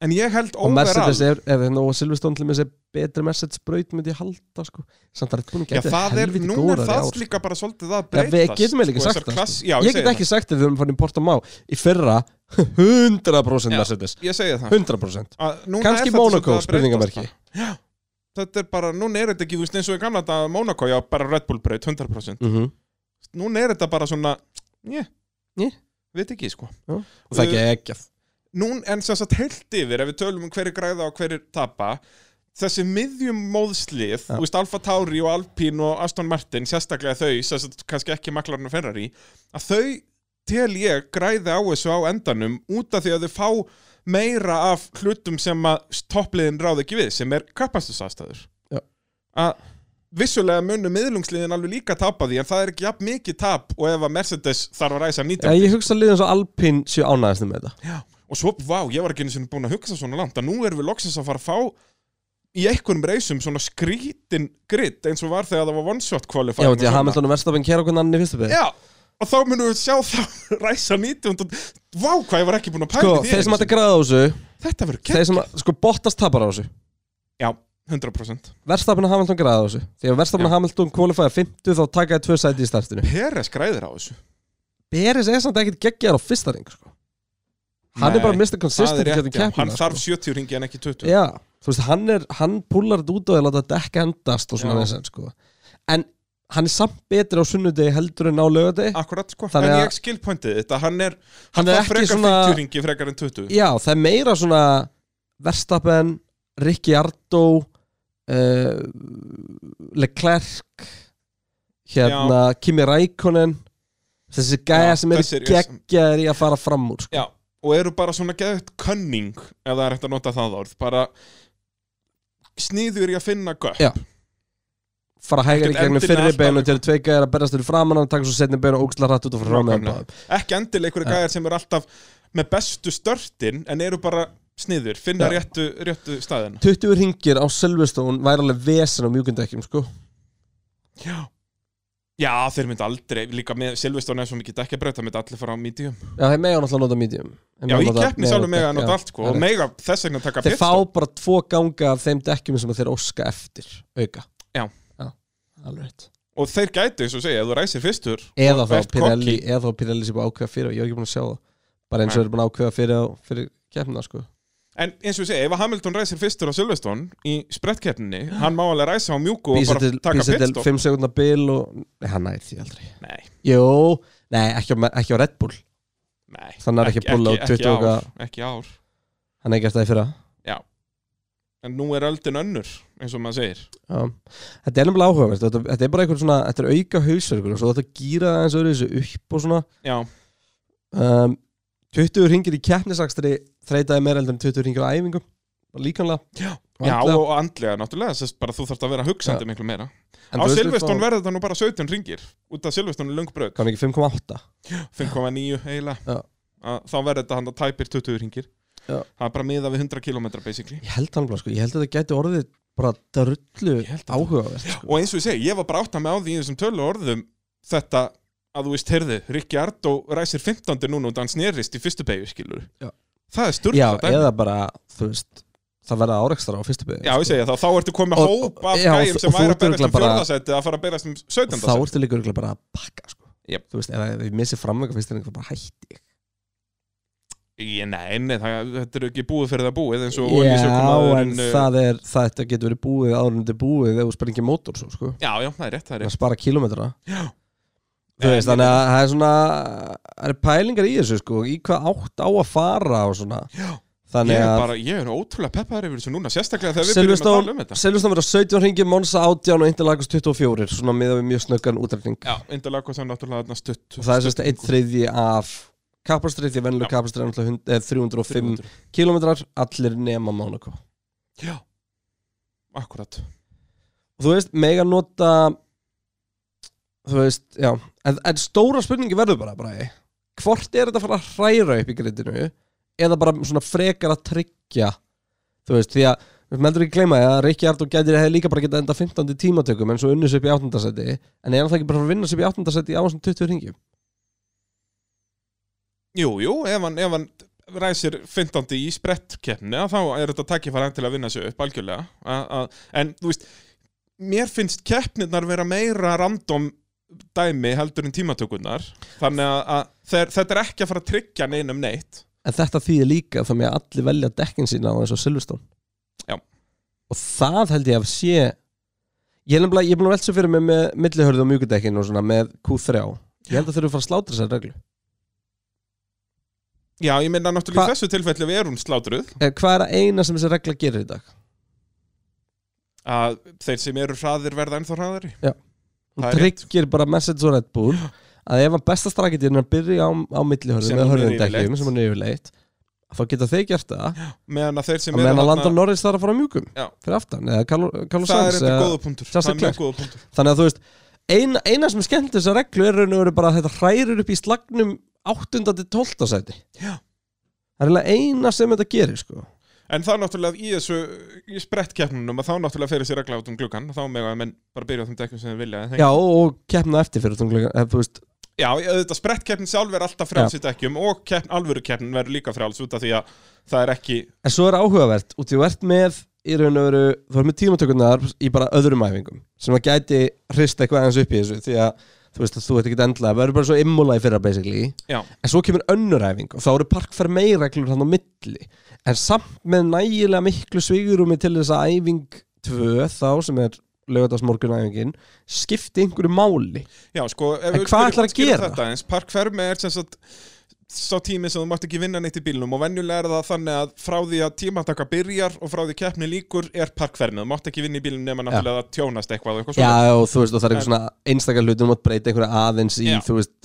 S2: En ég held
S1: og Mercedes
S2: overall
S1: er, er hérna, og Silvestón til með sér betri Mercedes braut myndi ég halda sko. samt að Red Bullin
S2: Já,
S1: getur
S2: það er,
S1: helviti
S2: núna er
S1: góðar
S2: það
S1: ár sko.
S2: líka bara svolítið að
S1: Já,
S2: breytast
S1: við getum eiginlega ekki
S2: sko,
S1: sagt
S2: þessar
S1: það,
S2: klass- Já,
S1: ég get
S2: segi
S1: ekki sagt þetta við erum farin í Portamá í fyrra 100%
S2: Já.
S1: Mercedes
S2: það Ég segi það
S1: 100%
S2: Að núna er
S1: kannski
S2: þetta
S1: Monaco, um
S2: svolítið að
S1: spurningamarki
S2: breytast. sko. Þetta er bara, núna er þetta ekki, þú veist, eins og í gamla þetta Monaco, já, bara Red Bull breyt, 100%
S1: mm -hmm.
S2: núna er þetta bara svona njö,
S1: Né.
S2: veit ekki sko
S1: og það er geggjað
S2: Nún, en sem sagt heilt yfir, ef við tölum um hverju græða og hverju tapa þessi miðjum móðslið,
S1: Já.
S2: þú veist Alfa Tauri og Alpine og Aston Martin, sérstaklega þau sem sagt kannski ekki maklarinn og Ferrari að þau tel ég græði á þessu á endanum út af því að þau fá meira af hlutum sem að toppliðin ráð ekki við, sem er kappastusafstæður
S1: Já.
S2: að vissulega munum miðlungsliðin alveg líka tapa því en það er ekki jafn mikið tap og ef að Mercedes þarf að ræsa 19
S1: Já, ég hugsa liðan svo Alpine séu ánæðast með þetta
S2: Já, og svo, vá, ég var ekki einu sinni búin að hugsa svona langt að nú erum við loksins að fara að fá í einhverjum reysum svona skrítin gritt eins og var þegar það var one shot qualifying
S1: Já,
S2: og
S1: því að
S2: svona.
S1: Hamilton og Verstappen kera okkur annan í fyrstu byrði
S2: Já, og þá munum við sjá það ræsa 19 og- Vá, hvað ég var ekki búin að pæla
S1: Sko,
S2: í því
S1: þeir
S2: einu
S1: sem hætti
S2: sinni.
S1: að græða á þessu
S2: Þetta verður
S1: Þeir
S2: kekk
S1: sem að, sko, Bottas tapar á þessu
S2: Já, 100%
S1: Verstappen og Hamilton græða á þessu Því að Verstappen
S2: Já.
S1: og Hamilton kvalifæða 50 þá taka þið tvö sæti í startinu
S2: Peres græðir á þessu
S1: Beres er samt ekkert geggjar á fyrsta ring, sko Hann
S2: Nei,
S1: er bara Mr.
S2: Það
S1: Consistent
S2: er
S1: í
S2: rétt,
S1: gegnum
S2: já, hann
S1: keppnina,
S2: þarf 70 ringi en ekki 20
S1: sko. Já, þú veist, hann er hann púlar þetta út og er láta þetta ekki endast og svona
S2: Já.
S1: þess sko. en hann er samt betur á sunnudegi heldur en á lögadegi
S2: Akkurat, sko,
S1: Þannig
S2: en
S1: að-
S2: ég skil pointið þetta Hann er,
S1: Hann er
S2: þarf
S1: ekki
S2: frekar
S1: svona-
S2: 50 ringi frekar en 20
S1: Já, það er meira svona Verstappen, Ricciardo uh, Leclerc hérna, Kimi Rækonen þessi gæja
S2: Já,
S1: sem eru
S2: þessir, já, sem-
S1: geggjaðir í að fara fram úr sko.
S2: Já, og eru bara svona geðvægt cunning ef það er hægt að nota það orð bara sníður í að finna göpp
S1: Já, fara hægar í
S2: Ekkert
S1: gegnum
S2: endinn
S1: fyrri
S2: alltaf-
S1: beinu til að tveika er að berast fyrir framann og taka svo setni beinu og ógstla hratt út og frá með
S2: Nákvæmlega. ekki endil einhverju gæjar sem eru alltaf með bestu störtin en eru bara sníður, finna
S1: Já.
S2: réttu, réttu staðina
S1: 20 ringir á Silverstone væri alveg vesen á mjúkundekkjum sko
S2: Já Já, þeir myndi aldrei, líka með Silveston er svo mikið ekki að breyta, myndi allir fara á medium
S1: Já, þeir mega náttúrulega nota medium Þeir
S2: Já,
S1: mega
S2: í
S1: nota-
S2: keppni sjálfur mega að
S1: já.
S2: nota allt sko
S1: það er
S2: og mega þess vegna taka
S1: Þeir fá
S2: pitstop.
S1: bara tvo ganga af þeim dekkjum sem þeir óska eftir auka
S2: Já.
S1: alveg rétt
S2: og þeir gæti, eins og segja, ef þú ræsir fyrstur
S1: Eða þá
S2: ert
S1: Pirelli,
S2: cocky.
S1: eða þá Pirelli sem búið að ákveða fyrir og ég er ekki búin að sjá það bara eins og
S2: Nei.
S1: þeir eru búin að ákveða fyrir, á- fyrir keppnina sko
S2: en eins og segja, ef að Hamilton ræsir fyrstur á Silveston í sprettkeppninni, hann má alveg ræsa á mjúku og
S1: Býsa
S2: bara
S1: til,
S2: taka
S1: býsa til
S2: pitstop
S1: 5 sekundar bil og Nei, hann næði því aldrei
S2: Nei,
S1: Jó, nei, ekki á, ekki á Red Bull
S2: nei
S1: Þannig er ekki Bull á 20
S2: ekki
S1: okkar.
S2: ár, ekki ár
S1: Hann er ekki eftir það í fyrra
S2: En nú er öldin önnur, eins og maður segir
S1: Já, þetta er nefnilega áhugavert þetta, þetta er bara einhver svona, þetta er auka hausverkur og svo þetta gýra það eins og þessu upp og svona
S2: Já,
S1: um, 20 ringir í keppnisakstri þreitaði meira heldur en 20 ringir á æfingu líkanlega
S2: Já. já og andlega náttúrulega Sest bara þú þarft að vera hugsandi miklu meira Á Silveston verður þetta nú bara 17 ringir Út af Silveston er löng bröð
S1: sko, Kann ekki 5,8
S2: 5,9 eiginlega
S1: Já.
S2: Að Þá verður þetta hann að tæpir 20 ringir
S1: Já.
S2: Það er bara miða við 100 km basically
S1: Ég held hann bara sko, ég held að þetta gæti orðið bara drullu
S2: Ég held að-
S1: áhugavert sko.
S2: Og eins og ég segi, ég var bara átt að með á því í þessum tölu orðum Þetta að þú veist, heyrðu, Rikki Ardó ræsir 15. núna og hann snerist í fyrstu beigju, skilur
S1: Já.
S2: Það er sturgla
S1: Já, eða bara, þú veist það verða árekstra á fyrstu sko. bygg
S2: Já, ég segja það, þá ertu komið með
S1: Og-
S2: hóp af
S1: já, og
S2: gæjum
S1: þú-
S2: sem
S1: og þú
S2: væri að
S1: ert
S2: berast um
S1: örugglega bara-
S2: fjórðasæti að fara að berast um
S1: og þá
S2: sautjandasæti
S1: ertu líka örugglega bara að pakka sko.
S2: Jep.
S1: þú veist, ef, ef ég missi framlega fyrstu ring þá bara hætti ég
S2: Ég, nei, nei, það, þetta er ekki búið fyrir það búið eins og
S1: Já, en
S2: olíusökumaðurinn, uh,
S1: það er, þetta getur verið búið árundi búið ef þú sprengir mótor svo, sko
S2: Já, já, það er rétt, það er
S1: að
S2: rétt
S1: spara kilometra
S2: Já.
S1: Þú veist,
S2: En-
S1: þannig að það er svona það er pælingar í þessu, sko í hvað átt á að fara og svona
S2: Já.
S1: Þannig
S2: Ég er
S1: að
S2: bara, ég er ótrúlega peppaður yfir þessu núna sérstaklega þegar við byrjum að tala um
S1: Silveston
S2: þetta
S1: Silveston verður 17 ringir, Monsa 18 og Interlagos 24, svona miðað við mjög snöggan útrefning
S2: Já, Indalakos er náttúrulega þarna stutt
S1: og það er sérst einn þriðji af kapastrið, því að venlega
S2: Já.
S1: kapastrið er náttúrulega hund- eh, 305
S2: 500
S1: kilometrar, allir nema Monaco
S2: Já, akkurat
S1: og þú veist, mega nota þú veist, já en, en stóra spurningi verður bara, bara hvort er þetta að fara að hræra upp í grindinu eða bara svona frekar að tryggja þú veist, því að við meldur ekki gleyma því að Rikki Ardó gætir hefði líka bara getað enda 15. tímatökum en svo unnus upp í 8. seti en er hann það ekki bara að fara að vinna sér upp í 8. seti á þessum 20 ringjum
S2: Jú, jú, ef hann, ef hann ræsir 15. í sprettkeppni að þá er þetta takkifæran til að vinna sig upp algjörlega a, a, en þú veist mér finnst keppnirnar vera meira random dæmi heldur en tímatökurnar þannig að, að þeir, þetta er ekki að fara að tryggja neinum neitt
S1: en þetta þýðir líka þá með að allir velja dekkin sína á þessu Silveston
S2: Já.
S1: og það held ég að sé Ég er nefnilega, ég er búin að velta svo fyrir mig með millihörðu og mjúkudekkinu og svona með Q3 Ég held að þurfum að fara að slátra þessar reglu
S2: Já, ég meina náttúrulega
S1: Hva-
S2: í þessu tilfelli við erum slátruð
S1: Eh, Hvað er að eina sem þessi regla gerir í dag?
S2: að þeir sem eru hraðir verða ennþá hraðari Það
S1: Hún
S2: er rétt.
S1: tryggir bara message og Red Bull að ef að besta strakitinn er að byrja á, á millihörðu
S2: Sem
S1: með
S2: hún er
S1: hörðundekkjum
S2: yfirleitt.
S1: sem hún er yfirleitt þá geta þeir gert það
S2: meðan að þeir
S1: að
S2: sem
S1: meðan
S2: eru
S1: að
S2: þarna-
S1: landa Norris þarf að fara á mjúkum
S2: Já.
S1: fyrir aftan eða Carlo Carlos
S2: það er
S1: Sainz
S2: enda
S1: eða-
S2: góða punktur
S1: Charles
S2: það er mjög
S1: Leclerc.
S2: góða punktur
S1: þannig að þú veist eina, eina sem er skemmt þessar reglu er raun og veru bara að þetta hrærir upp í slagnum 8. til 12. sæti
S2: Já.
S1: það er eiginlega eina sem þetta gerir sko
S2: en þá náttúrulega í þessu í sprettkeppnunum að þá náttúrulega fyrir sér regla út um gluggan þá með að menn bara byrja á þeim dekkum sem þeir vilja en þeir-
S1: já og, og keppna eftir fyrir tungleika eða eh, þú veist
S2: Já, þetta sprettkeppnin sjálf er alltaf frjáls í dekkjum og keppn, alvöru keppnin verður líka frjáls út af því að það er ekki
S1: en svo er áhugavert út í þú ert með í raun og veru þú ert með tímatökurnar í bara öðrum æfingum sem að gæti hrista eitthvað aðeins upp í þessu því að þú veist að þú ert ekkert endla það verður bara svo immúla í fyrra basically
S2: Já,
S1: en svo kemur önnur æfing og þá eru parkfermeireglur hann á milli en samt með nægilega miklu svigurumi til þess að æfing 2 þá sem er lögadagsmorgun æfingin skipti einhverju máli
S2: já sko ef
S1: En
S2: við
S1: hvað
S2: spyrjum-
S1: ætlar að
S2: skýrum
S1: gera?
S2: Þetta eins, parkfermi er sem sagt sá tími sem þú mátt ekki vinna neitt í bílnum og venjulega er það þannig að frá því að tímataka byrjar og frá því keppni líkur er parkfermi, þú mátt ekki vinna í bílnum nema náttúrulega að tjónast eitthvað, og eitthvað svona.
S1: Já, og þú veist, og það er einhver svona einstakar hlutum mátt breyta einhverju aðeins í,
S2: Já.
S1: þú veist,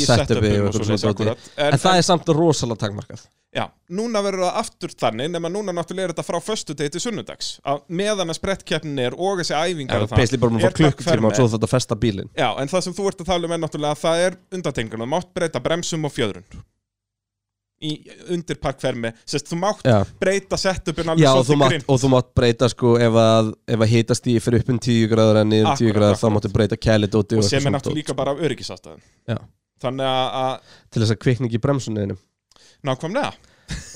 S1: setupi og
S2: setupum og
S1: eitthvað
S2: svoleiðis,
S1: svona dóti en,
S2: akkúrat. En-
S1: það er samt rosalega takmarkað
S2: Já, núna verður það aftur þannig nema núna náttúrulega er þetta frá föstudegi til sunnudags að meðan að sprettkeppnin er og þessi æfingar og það
S1: Beisli bara maður
S2: er
S1: fór klukkutíma
S2: parkfermi.
S1: og svo þetta festa bílinn
S2: Já, en það sem þú ert að tala um er náttúrulega að það er undantengur þú mátt breyta bremsum og fjöðrun í undir parkfermi sérst, þú mátt
S1: Já,
S2: breyta setupin alveg
S1: Já og, þú
S2: svolítið
S1: mátt,
S2: grinn
S1: og þú mátt breyta sko ef að, ef að hitast í fyrir upp um 10 gráður en niður um 10
S2: Akkúrat,
S1: gráður þá
S2: akkúrat.
S1: máttu breyta kæli dóti
S2: og sem
S1: eitthvað
S2: er
S1: svona
S2: náttúrulega
S1: dót.
S2: líka bara af öryggisastæðin
S1: Já.
S2: þannig að, að
S1: til þess að kvikningi bremsunniðinu
S2: nákvæmlega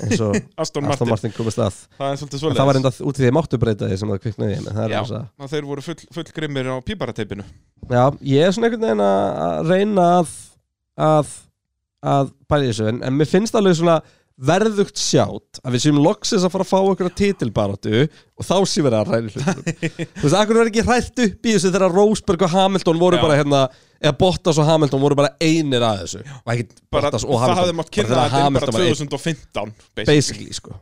S1: eins og Aston
S2: Aston Martin,
S1: Martin komist að
S2: það er svolítið
S1: En
S2: svolítið
S1: það var enda út í því að máttu breyta því sem það kviknaði en það er
S2: Já,
S1: þess að
S2: að þeir voru full, full grimmir á píparateipinu
S1: Já, ég er svona einhvern veginn að að reyna að að, að bæri þessu en, en mér finnst alveg svona verðugt sjátt að við séum loksins að fara að fá okkur titilbaratu og þá séum við að ræði hlutum Þú veist, akkur verður ekki hrætt upp í þessu þegar Rósberg og Hamilton voru
S2: Já.
S1: bara hérna eða Bottas og Hamilton voru bara einir að þessu og ekki
S2: bara,
S1: Bottas og
S2: það hafði
S1: Hamilton
S2: mátt kynna
S1: bara þegar
S2: þetta inn bara
S1: Hamilton var einn
S2: 2015 basically.
S1: basically sko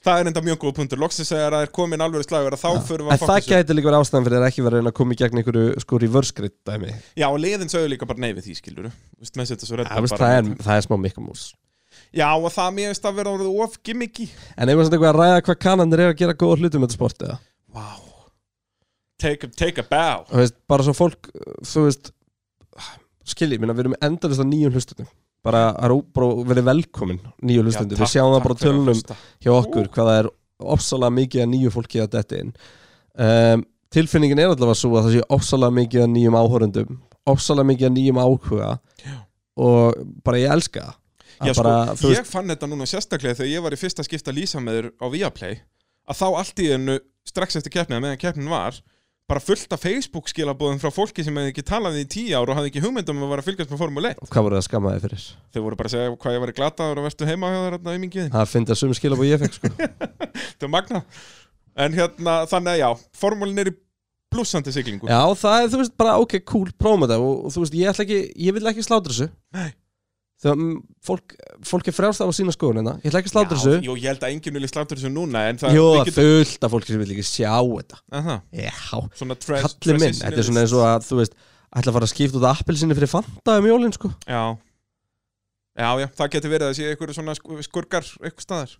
S2: það er enda mjög góð punktur loksins þegar það er komin alveg slagur að þá förum við
S1: En
S2: að
S1: það
S2: fokkusu
S1: gæti líka verið ástæðan fyrir að ekki verið að reyna að koma í gegn einhverju sko reverse grid dæmi
S2: já og liðin sögðu líka bara nei við því skilur
S1: Það, veist, það, er, það er smá mikkamús
S2: Já, og það mér finnst að vera orðið of gimmicky
S1: En eigum við samt eitthvað að ræða hvað kananir er að gera góða hlutum með þetta sport eða
S2: Wow Take a, take a bow
S1: Þú veist, Bara svo fólk, uh, þú veist Skilji, minna, við erum endalist að nýjum hlustundum Bara að ró- bara verið velkomin nýju hlustundum, við sjáum það bara á tölunum hjá okkur hvað það er ofsalega mikið að nýju fólki að detti inn um, tilfinningin er allavega svo að það sé ofsalega mikið að nýjum áhorundum ofsalega mikið að nýjum áhuga og bara ég elska það.
S2: Já,
S1: að
S2: sko,
S1: bara, þú
S2: Ég fann þetta núna sérstaklega þegar ég var í fyrsta skipta lýsa með þér á Viaplay að þá allt í ennu strax eftir keppnið að meðan keppnin var bara fullt af Facebook skilabóðum frá fólki sem hefði ekki talað í tíu ár og hafði ekki hugmyndum að vera að fylgjast með Formule 1
S1: veist, hvað voru það að skamma þig fyrir
S2: Þau voru bara að segja hvað ég var glataður og verðstu heima hjá þér þarna í mingiðin
S1: það finnst að sum skilabóð ég fekk sko.
S2: Þetta er magna En hérna, þannig að já, formúlin er í blúsandi siglingu
S1: já það er þú veist bara ok cool prófum þetta og, og þú veist ég ætla ekki ég vil ekki slátra þessu
S2: Nei.
S1: þegar mm, fólk, fólk er frjálst af að sína skoðunina ég ætla ekki slátra þessu
S2: Jú, ég held að enginn vilja slátur þessu núna En það
S1: Jó,
S2: við
S1: það er fullt af fólki sem vil ekki sjá þetta
S2: Aha,
S1: Já,
S2: Svona trans
S1: kalli minn,
S2: transitionalist.
S1: þetta er svona eins og að þú veist, ætla að fara að skipta út appelsinni fyrir Fanta um jólinn sko
S2: Já Já, já, það getur verið að sé einhverju svona sku- skurkar einhver staðar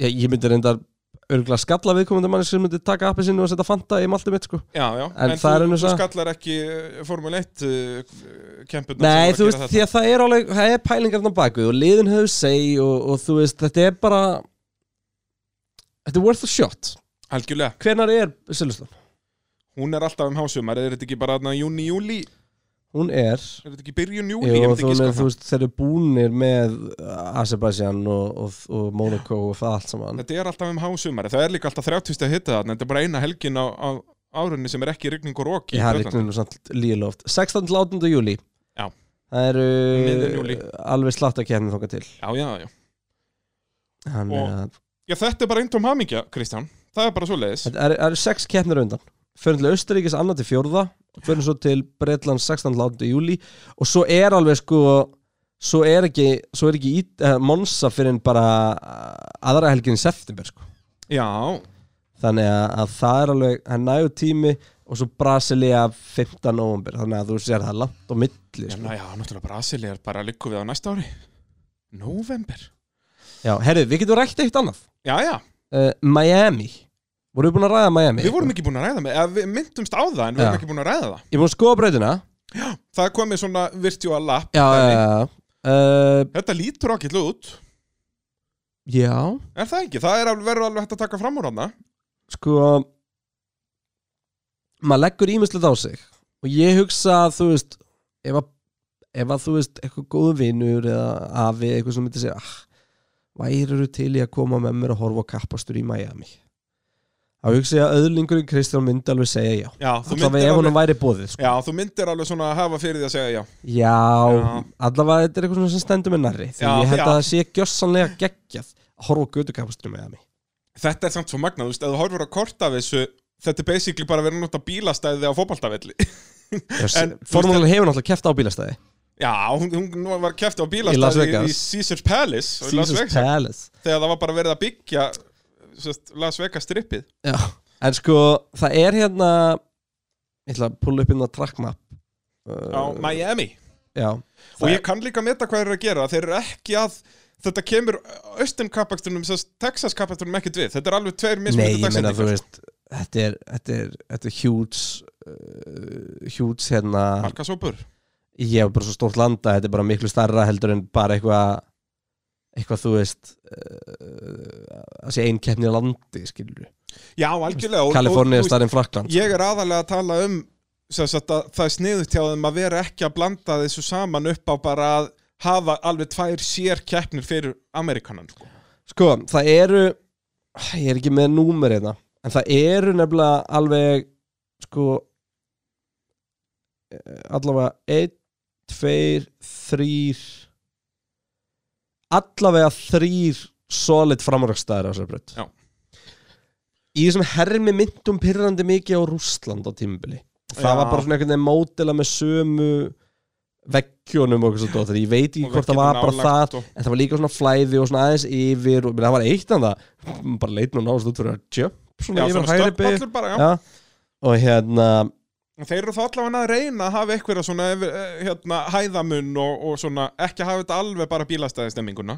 S1: ég, ég myndi reyndar örgulega skalla viðkomandi manni sem myndi taka appelsinni og setja Fanta í maltið mitt sko
S2: Já, já,
S1: En það er
S2: þú,
S1: önnur
S2: þú
S1: saga.
S2: skallar ekki eh, Formule 1 uh, kempurnar
S1: Nei,
S2: sem
S1: þú
S2: voru
S1: veist,
S2: að
S1: því
S2: gera
S1: að það er alveg, það er pælingarna bakvið og liðin hefur seg og, og þú veist, þetta er bara Þetta er worth a shot
S2: þetta Algjörlega,
S1: Hvenær er Silveston?
S2: hún er alltaf um hásumar Er þetta ekki bara aðna júni, júli
S1: Hún er
S2: Er þetta ekki byrjun júli,
S1: Jú,
S2: ég myndi
S1: þú,
S2: ekki
S1: er, þú
S2: sko
S1: veist, þeir eru búnir með Azerbaijan og, og, og Monaco og það allt saman
S2: Þetta er alltaf um hásumar Það er líka alltaf 30. að hitta þarna Þetta er bara eina helgin á, á árunni sem er ekki rigning og roki
S1: Ég hafði regnum samt líla oft 16. til 18. júli
S2: Já.
S1: Það eru
S2: Miðjan júlí.
S1: alveg slatt að kemna þóka til
S2: Já, já, já
S1: Þannig
S2: Og-
S1: að-
S2: Já, þetta er bara eintóm hamingja, Kristján. Það er bara svo leiðis.
S1: Þetta eru- það eru sex keppnir á undan förum til Austuríkis annar til fjórða förum svo til Breitland 16. láti júli og svo er alveg sko svo er ekki, svo er ekki í, uh, Monsa fyrir en bara uh, aðra helgin í september sko
S2: Já,
S1: þannig að, að það er alveg hann nægur tími og svo Brasilia 15. november þannig að þú sér það er langt og milli
S2: já,
S1: sko.
S2: ná, já náttúrulega Brasilia er bara likku við á næsta ári November
S1: já, herrið, við getum rækt eitt annað
S2: Já, já,
S1: uh, Miami, vorum við búin að ræða Miami
S2: við vorum ekki búin að ræða með eða við myndumst á það en við
S1: Já.
S2: vorum ekki búin að ræða það
S1: ég búin að skoða breytina
S2: Það komið svona virtual lap
S1: já, já,
S2: dæmi.
S1: já, já. Uh,
S2: Þetta lítur ákvæmt út
S1: já
S2: Er það ekki? Það er alveg, verður alveg hægt að taka fram úr hana
S1: sko maður leggur ímislegt á sig og ég hugsa að þú veist ef að, ef að þú veist eitthvað góðu vinur eða afi eitthvað sem myndi segja ah, værirðu til í að koma með mér að horfa á kappastur í Miami þá hugsa ég að öðlingurinn Kristján myndi alveg segja já
S2: Já, þú
S1: allavega
S2: myndir
S1: ef
S2: alveg,
S1: hann væri bóðið sko.
S2: já, þú myndir alveg svona að hafa fyrir því að segja já
S1: já, allavega þetta er eitthvað svona sem stendur mér nærri því
S2: Já,
S1: ég held
S2: já.
S1: að það sé gjössanlega geggjað að horfa á götu kappastur í Miami
S2: Þetta er samt svo magnað, þú veist, ef þú horfur að korta af þessu Þetta er basically bara að vera að nota bílastæði á fótbaltavelli En, þú veist,
S1: formúlan hefur náttúrulega keft á bílastæði
S2: Já, hún, hún nú var kæfti á
S1: Í Las
S2: bílastæði í,
S1: Vegas.
S2: í Caesars Palace og í Las
S1: Caesars
S2: Vegas,
S1: Palace
S2: Þegar það var bara verið að byggja sest, Las Vegas strippið
S1: Já, en sko það er hérna ég ætla að pulla upp inn á trackmap
S2: á
S1: uh,
S2: Miami
S1: Já,
S2: Og
S1: það-
S2: ég kann líka meta hvað þeir eru að gera Þeir eru ekki að Þetta kemur austin kapakstunum, Texas kapakstunum ekkert við Þetta er alveg tveir
S1: Nei,
S2: mismunandi
S1: ég meina þú
S2: dagsetningar.
S1: veist þetta er, þetta er, þetta er huge uh, huge hérna
S2: Markasópur
S1: ég er bara svo stórt landa, þetta er bara miklu starra heldur en bara eitthvað eitthvað þú veist uh, að sé ein keppni í landi skilur
S2: Já, algjörlega og- og-
S1: Kalifornið
S2: þú
S1: er
S2: veist,
S1: starra en Frakland
S2: Ég er aðalega að tala um sem sagt, að það er sniðut hjá þeim að vera ekki að blanda þessu saman upp á bara að hafa alveg tvær sér keppnir fyrir Amerikanan sko.
S1: Sko, það eru ég er ekki með númer hérna en það eru nefnilega alveg sko eh, allavega 1, 2, 3 allavega 3 solid framrækstaðir á þessari breytt
S2: Já.
S1: Í þessum hermi myndum pyrrandi mikið á Rússland á tímubili það
S2: Já.
S1: var bara svona einhvern veginn mótila með sömu veggjónum og eitthvað svo dóttir ég veit ekki
S2: Og
S1: hvort það
S2: veggjunum
S1: var bara
S2: nálægt
S1: það
S2: og-
S1: en það var líka svona flæði og svona aðeins yfir og menn, það var eitt en það bara leit nú náðast út fyrir að jump svona
S2: Já,
S1: yfir
S2: svona
S1: hægri byr
S2: stökkpallur bara, já.
S1: já. og hérna
S2: Þeir eru þá allavega að reyna að hafa eitthvað svona eh, hérna, hæðamun og, og svona ekki hafa þetta alveg bara bílastæðistemminguna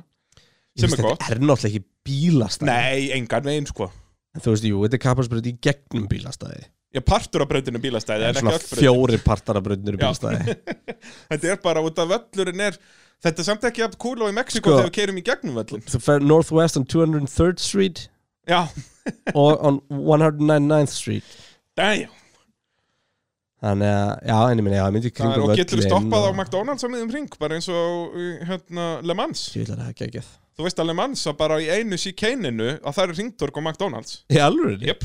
S1: ég
S2: Sem
S1: veist,
S2: er gott.
S1: þetta er náttúrulega ekki bílastæði
S2: Nei, engan veginn sko
S1: en þú veist, jú, þetta er kapparsbröð í gegnum bílastæði
S2: Ég partur á brautinu bílastæði en ekki
S1: svona
S2: öll braut
S1: fjóri partar af bröðnir í
S2: Já.
S1: bílastæði
S2: Þetta er bara út af völlurinn er Þetta er samt ekki að kúla á í Mexiko
S1: Sko.
S2: þegar við keirum í gegnum völlin
S1: þú fer northwest on 203rd street
S2: Já,
S1: og on 199th street
S2: dæjá
S1: þannig að, já, en ég minni, já, ég myndi í
S2: Það er,
S1: kringum
S2: og getur
S1: völlinn
S2: stoppað á
S1: og-
S2: McDonalds á miðum ring, bara eins og í, hérna, Le Mans.
S1: Ég vil að það ekki að geð
S2: Þú veist að Le Mans að bara í einu síkeininu að það eru ringtorg á McDonalds.
S1: Í alvöru?
S2: Jep.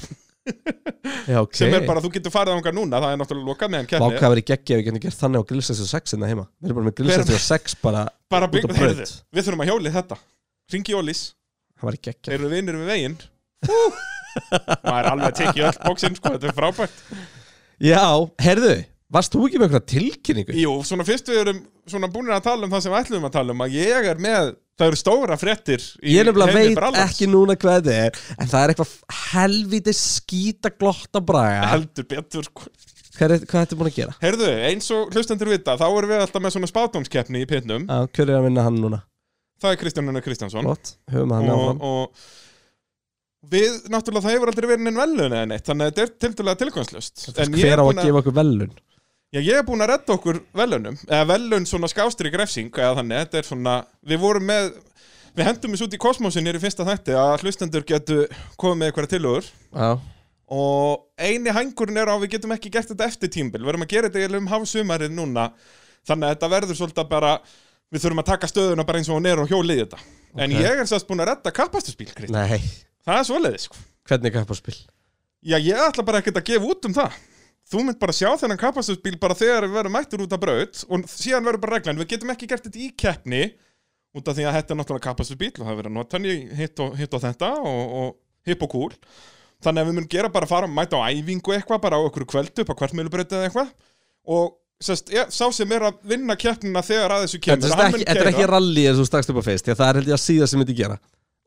S1: Já, ok
S2: Sem er bara, þú getur farið ánga núna, það er náttúrulega lokað meðan
S1: Vá
S2: kemni.
S1: hvað verið geggja ef við getum gert þannig á grillsessu 6 innan hérna heima Við erum bara með grillsessu 6 bara
S2: Bara
S1: út á
S2: byggðu,
S1: braut.
S2: heyrðu, við þurfum að hjóli þetta. Ringi Jólís,
S1: Það var geggja
S2: þeir eru vinir við veginn. Maður er alveg að tekið öll bóksinn, sko, þetta er frábært.
S1: Já, herðu, varst þú ekki með einhverja tilkynningu?
S2: Jú, svona fyrst við erum svona búinir að tala um það sem við ætlum að tala um, að ég er með, það eru stóra fréttir í
S1: Ég nefnilega
S2: heimi
S1: veit
S2: brallans.
S1: ekki núna hvað þetta er En það er eitthvað helviti skýta glotta braga
S2: Heldur betur, sko.
S1: Hvað er- hvað ertu búin að gera?
S2: Herðu, eins og hlustendur vita, þá erum við alltaf með svona spátumskeppni í pinnum.
S1: Já, hver er að vinna hann núna?
S2: Það er Kristján Hennar Kristjánsson og,
S1: Gott, höfum hann áfram
S2: og við, náttúrulega, það hefur aldrei verið neinn velun eða neitt, þannig að þetta er tildulega tilgangslust. En ég
S1: sko Hver
S2: er,
S1: á að
S2: búin að,
S1: gefa okkur velun?
S2: já, ég er búin að redda okkur velunum, eða velun svona skástri grefsing, eða þannig, þetta er svona, við vorum með, við hendum þessu út í kosmosin hér í fyrsta þætti að hlustendur getu komið með eitthvað tilhugur
S1: Já,
S2: og eini hangurinn er á að við getum ekki gert þetta eftir tímbil, við verðum að gera þetta eiginlega um hafsumarið núna, þannig að þetta verður svolítið bara, við þurfum að taka stöðuna bara eins og hún er og hjólið í þetta en
S1: Ok.
S2: ég er sérst búin að redda kappastuspíl Kristján,
S1: nei,
S2: það er svoleiðis sko.
S1: hvernig kappaspil?
S2: já ég ætla bara ekkert að gefa út um það þú mynd bara sjá þennan kappastuspíl bara þegar við verðum mættur út af braut og síðan verður bara reglan, við getum ekki gert þetta í keppni út af því að þetta er náttúrulega kappastuspíl og það verður að nota hann í hitt og, hitt og þetta og, og hipp og kúl þannig að við munum gera bara að fara mæta á æfingu eitthvað, bara á okkur kvöldu upp á kvartmjölubröti eða eitthvað og sest, ja, sá sem er að vinna keppnina þegar að þessu
S1: Þetta
S2: kemur
S1: er
S2: hann
S1: ekki,
S2: mun
S1: þetta er ekki
S2: keyra.
S1: rally eins og stakst upp á feist Það er held ég að síða sem myndi gera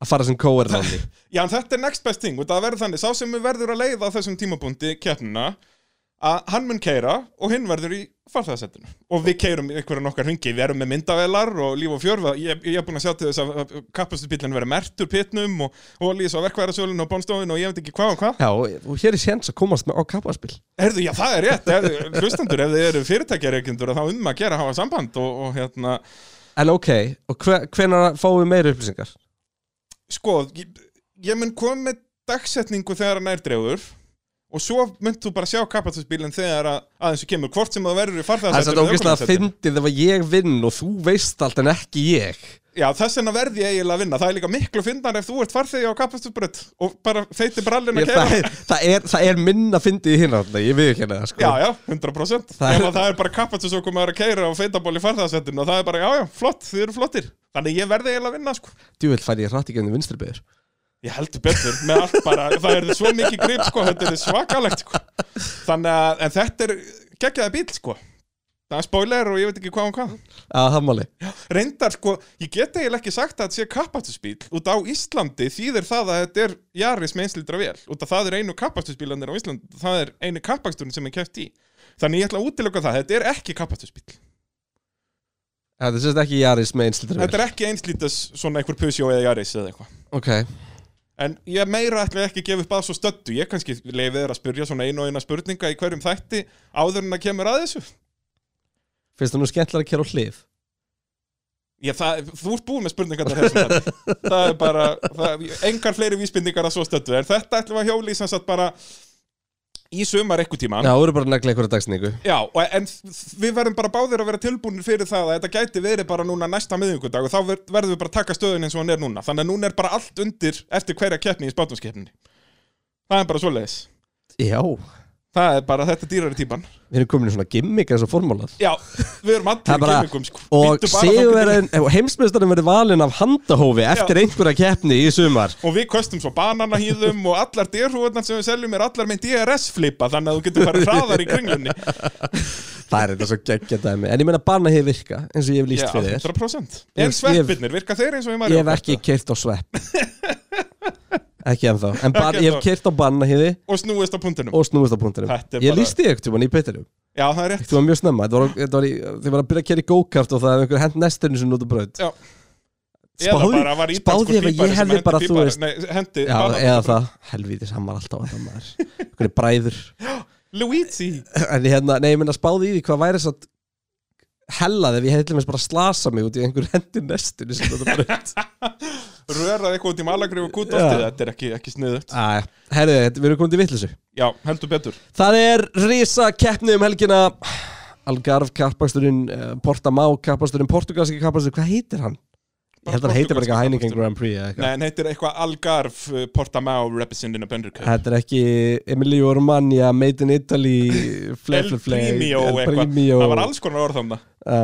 S1: Að fara sem kóer rally
S2: Já, en þetta er next best thing, og það verður þannig Sá sem verður að leiða á þessum tímabundi keppnina að hann mun keira og hinn verður í farþæðasettinu og við keirum einhverjum okkar hringi, við erum með myndavelar og líf og fjörfa, ég, ég er búin að sjá til þess að kappastubillin verður mertur pitnum og ólís og verkvæðarsölun og bónstofin og ég veit ekki hvað og hvað
S1: Já, og og hér er séns að komast með á kappaspil
S2: Herðu, já það er rétt, herðu, hlustendur ef þið eru fyrirtækjareikendur þá um að gera að hafa samband og, og hérna,
S1: En ok, og hve- hvenær fáum við meira upplýsingar?
S2: sko, ég, ég mun koma með dagsetningu þegar hann er dregur og svo mynd þú bara sjá kapastusbílinn þegar að, aðeins og kemur hvort sem það verður í
S1: Það er
S2: farþegarsætinu
S1: þetta
S2: eða
S1: ógeðslega
S2: ökumannasætinu.
S1: fyndið ef að ég vinn og þú veist allt en ekki ég
S2: Já, þess vegna verð ég eiginlega að vinna það er líka miklu fyndan ef þú ert farþegi á kapastusbrödd og bara feiti brallin
S1: Ég,
S2: að
S1: það,
S2: kæra
S1: er, það, er, það er minna fyndið í hérna, ég við ekki hérna sko.
S2: Já, já,
S1: Það
S2: 100% það
S1: er-
S2: er, það er bara kapastusökum að keira og feita ból í farþegarsætinu og það er bara, já, já, flott, þið eru flottir Þannig ég verði eiginlega að vinna, sko
S1: Djúvel fær ég hratt í gennum vinstribegur
S2: Ég heldur betur með allt bara, það er svo mikið grip sko, þetta er svakalegt sko. Þannig að, en þetta er geggjaða bíl sko. Það er spoiler og ég veit ekki hvað og hvað.
S1: að hammáli
S2: Reyndar sko, ég get eiginlega ekki sagt að þetta sé kappatusbíl út á Íslandi þýðir það að þetta er Jaris með einslítra vél. Út að það er einu kappatusbílandir á Íslandi, það er einu kappaksturinn sem er kæft í. Þannig ég ætla að útiloka það, þetta er ekki kappatusbíl.
S1: Þetta sést ekki Jaris með einslítur
S2: Þetta er ekki einslítas svona einhver pusjó eða Jaris eða eitthvað.
S1: Ok,
S2: En ég meira ætla ekki að gefa upp að svo stöttu. Ég kannski leiði þér að spyrja svona einu og eina spurninga í hverjum þætti áður en að kemur að þessu.
S1: finnst það nú skemmtilega að kera á hlið
S2: Ég, það, þú ert búin með spurningar þar þessum þætti. Það er bara, það, engar fleiri vísbendingar að svo stöttu. En þetta ætlum við að hjóli sem sagt bara í sumar ekkur tíma.
S1: Já, þú eru bara að negla einhverja dagsningu
S2: Já, og, en við verðum bara báðir að vera tilbúinir fyrir það að þetta gæti verið bara núna næsta miðvíkudag og þá ver- verðum við bara að taka stöðun eins og hann er núna. Þannig að núna er bara allt undir eftir hverja keppni í spátumskeppninni. Það er bara svoleiðis.
S1: Já, við
S2: Það er bara þetta er dýrari típan.
S1: erum komin í svona gimmick eins og formálað
S2: Já, við erum
S1: Það er
S2: allir í
S1: bara-
S2: kemingum sko.
S1: Og
S2: Bíddu bara þangað til-
S1: sigurverðin, heimsmeistarinn verið valinn af handahófi eftir einhverja keppni í sumar
S2: Og við köstum svo bananahýðum og allar derhúðnar sem við seljum er allar með DRS-flipa þannig að þú getur farið hraðar í kringlunni
S1: Það er þetta svo geggja dæmi En ég meina banna hefur virka, eins og ég hef
S2: Já,
S1: líst fyrir þér
S2: 100%
S1: Ég-
S2: En
S1: ég-
S2: sveppirnir, virka þeir eins og
S1: Ég
S2: við maður
S1: hef ekki keirt á svepp Ekki ennþá En ban,
S2: Ekki
S1: ég hef
S2: ennþá.
S1: keirt á banna hefði
S2: Og snúist á puntinum
S1: og snúist á punktinum
S2: Þetta er
S1: Ég
S2: bara-
S1: lísti ykkur tjúman í pittinum
S2: Já, það er rétt
S1: Þetta var mjög snemma, þetta var, þetta var í, þið var að byrja að kera í go-kart og það hefði einhver hent nestinu sinni út á braut
S2: Já. Eða
S1: Spáði,
S2: bara var
S1: spáði ef
S2: ítalskur
S1: að ég
S2: pípari sem
S1: hefði
S2: hendi
S1: bara, þú
S2: pípara-
S1: veist
S2: Nei,
S1: Já,
S2: hendi
S1: eh.
S2: banana-
S1: eða það, helvítis, hann var alltaf að það maður Einhverju bræður
S2: Luigi
S1: En ég hérna, nei, ég minna spáði í því hvað væri satt hellað ef ég hefði til mér bara slasa mig út í einhver hendi nestinu sinni út á braut
S2: Röraði eitthvað út í malagri og kút
S1: Já.
S2: Þetta er ekki, ekki sniðut
S1: Æ, herðu, þetta- við erum komin til vittlisu
S2: Já, heldur betur
S1: Það er risa keppni um helgina Algarve kappaksturinn uh, Portamá kappaksturinn, portugalski kappaksturinn Hvað heitir hann? Ég held að hann heitir bara eitthvað
S2: Portúgalski
S1: Heineken Grand Prix eða eitthvað
S2: Nei, en heitir eitthvað eh, Algarf Portamau Representing a Bendercup
S1: Þetta er ekki Emilio Romagna, Made in Italy Flair, Flair,
S2: El
S1: Flair
S2: Primio
S1: El
S2: eitthvað
S1: Primio.
S2: Það var alls konar orð þarna
S1: Já.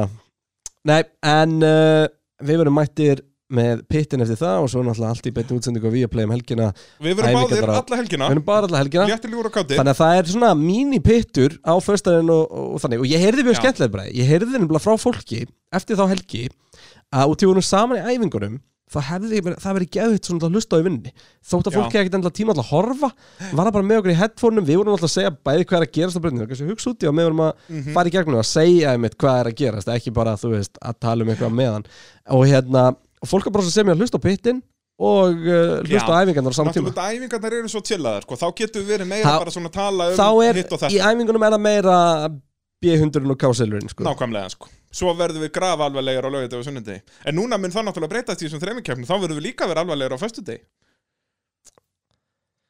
S1: Nei, en uh, við verum mættir með pittin eftir það og svo náttúrulega allt í betni útsendingu og við að playa um helgina
S2: Við
S1: Æ,
S2: verum
S1: við
S2: báðir
S1: getum bara-
S2: alla helgina
S1: Við verum bara alla helgina
S2: Léttilegur og kátir
S1: Þannig að það er svona mini-pittur á föstudaginn og, og, og þannig. Og ég heyrði mjög
S2: Já.
S1: skemmtilega bara, ég heyrði nefnilega frá fólki eftir þá helgi að út í honum saman í æfingunum þá hefði ég verið- það verið geðvitt svona að hlusta á í vinninni. Þótt að
S2: Já.
S1: fólki hefði ekkert endilega tíma alltaf að horfa, var það bara með okkur í headphoneum, við vorum alltaf að segja bæði hvað er að gerast á breytinu, kannski hugsa út í og við vorum að Mm.
S2: Mhm.
S1: fara í gegnum og að segja einmitt hvað er að gerast, ekki bara þú veist að tala um eitthvað meðan. Og hérna, og fólk var bara sem ég að hlusta á pittin og uh, hlusta
S2: Já.
S1: á æfingarnar á samtíma.
S2: Náttúrulega æfingarnar eru svo tillaðar sko. Þá getum við verið meira
S1: Þá-
S2: bara svona að tala um
S1: þá er,
S2: hitt og þetta
S1: í æfingunum er það meira B100 og K-selurinn sko.
S2: Nákvæmlega sko Svo verðum við grafa alvarlegar á lögðið og sunnundegi En núna mun það náttúrulega breytast í þessum þreimikefnum Þá verðum við líka verið alvarlegar á föstudegi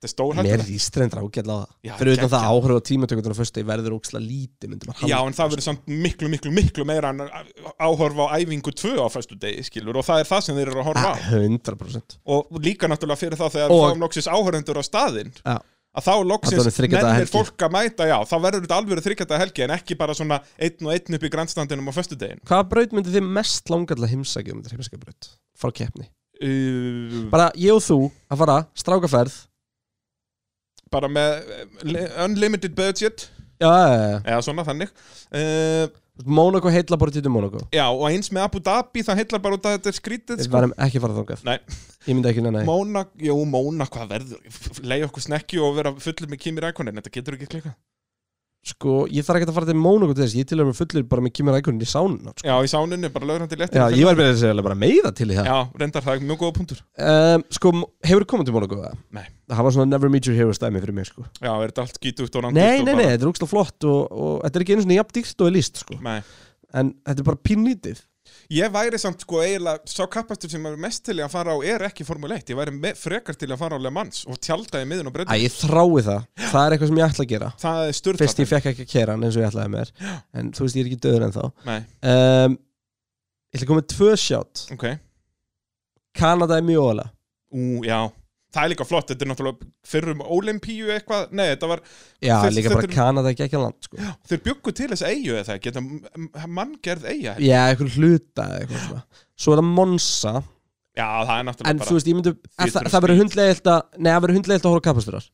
S2: Þetta er stór
S1: mér líst reyndra ágætla á
S2: Já,
S1: það fyrir utan það
S2: geggjað.
S1: áhrif á tímatökundunum fyrst ég verður ókslega lítið myndi maður
S2: Já,
S1: halda.
S2: en það verður samt miklu, miklu, miklu meira en áhorfa á æfingu 2 á föstudegi, skilur, og það er það sem þeir eru að horfa á.
S1: Ah, 100%
S2: og líka náttúrulega fyrir þá þegar
S1: Og-
S2: við fáum loksins áhörundur á staðinn
S1: Já.
S2: að þá
S1: Þetta verður
S2: loksins
S1: þriggja daga
S2: nennir
S1: helgi.
S2: fólk að mæta já, þá verður þetta alveg þryggjata helgi en ekki bara svona einn og einn upp í grannstandinum á föstudegin
S1: hvaða braut myndi þið mest langarlega heimsækja um þetta heimsækja braut frá keppni
S2: uh,
S1: bara ég og þú að fara strákaferð
S2: bara með eh, li- unlimited budget
S1: Já, já, já, já.
S2: eða svona þannig uh,
S1: Monaco heilla bara til Monaco
S2: já og eins með Abu Dhabi það heillar bara út að þetta er skrítið
S1: Við
S2: sko.
S1: varum ekki að fara þangað
S2: Nei,
S1: Ég myndi ekki neina
S2: Móna, jú, Móna, hvað verður leiði okkur snekki og vera fullur með Kimi Rækonin þetta getur ekki klika
S1: Sko, ég þarf ekki að fara til Monaco til þess Ég til og með fullir bara með Kimi Rækunin í sánuna sko.
S2: Já, í sánunni, bara lögrandi létt
S1: Já, ég var með þess að bara meira til í það
S2: Já, reyndar það er mjög góða punktur
S1: um, Sko, hefur komið til Monaco það?
S2: Nei.
S1: Það var svona Never Meet Your Hero stæmi fyrir mig sko
S2: Já, er þetta allt gítugt og randist
S1: Nei,
S2: og
S1: nei, nei,
S2: bara-
S1: þetta er úkslega flott og, og þetta er ekki einu svona jafn dýrt og er líst sko.
S2: Nei.
S1: En þetta er bara pínlítið
S2: Ég væri samt sko eiginlega Sá kappastur sem maður mest til í að fara á er ekki Formule 1 Ég væri me- frekar til í að fara á Le Mans Og tjálta í miðun og breyta
S1: Æ, ég þrái það, það er eitthvað sem ég ætla að gera
S2: Það er sturt
S1: Fyrst ég fekk ekki að kera hann eins og ég ætlaði mér En þú veist, ég er ekki döður en þá
S2: Nei,
S1: um, Ég ætla að koma með tvö sjátt
S2: ok
S1: Kanada er mjög ólega
S2: Ú, já Það er líka flott, þetta er náttúrulega fyrrum Olympíu eitthvað, nei þetta var,
S1: Já,
S2: Fyrst
S1: líka bara
S2: þetta er-
S1: Kanada ekki ekki land sko. Já,
S2: þeir bjuggu til þess eigu eða það, geta m- manngerð eiga Já,
S1: eitthvað hluta eða eitthvað svona Svo er það Monsa
S2: það er
S1: En
S2: náttúrulega
S1: þú veist, ég myndi að
S2: Theater
S1: það,
S2: of
S1: það verður
S2: speech.
S1: hundlegilegt að Nei, það verður hundlegilegt að horfa kapasturar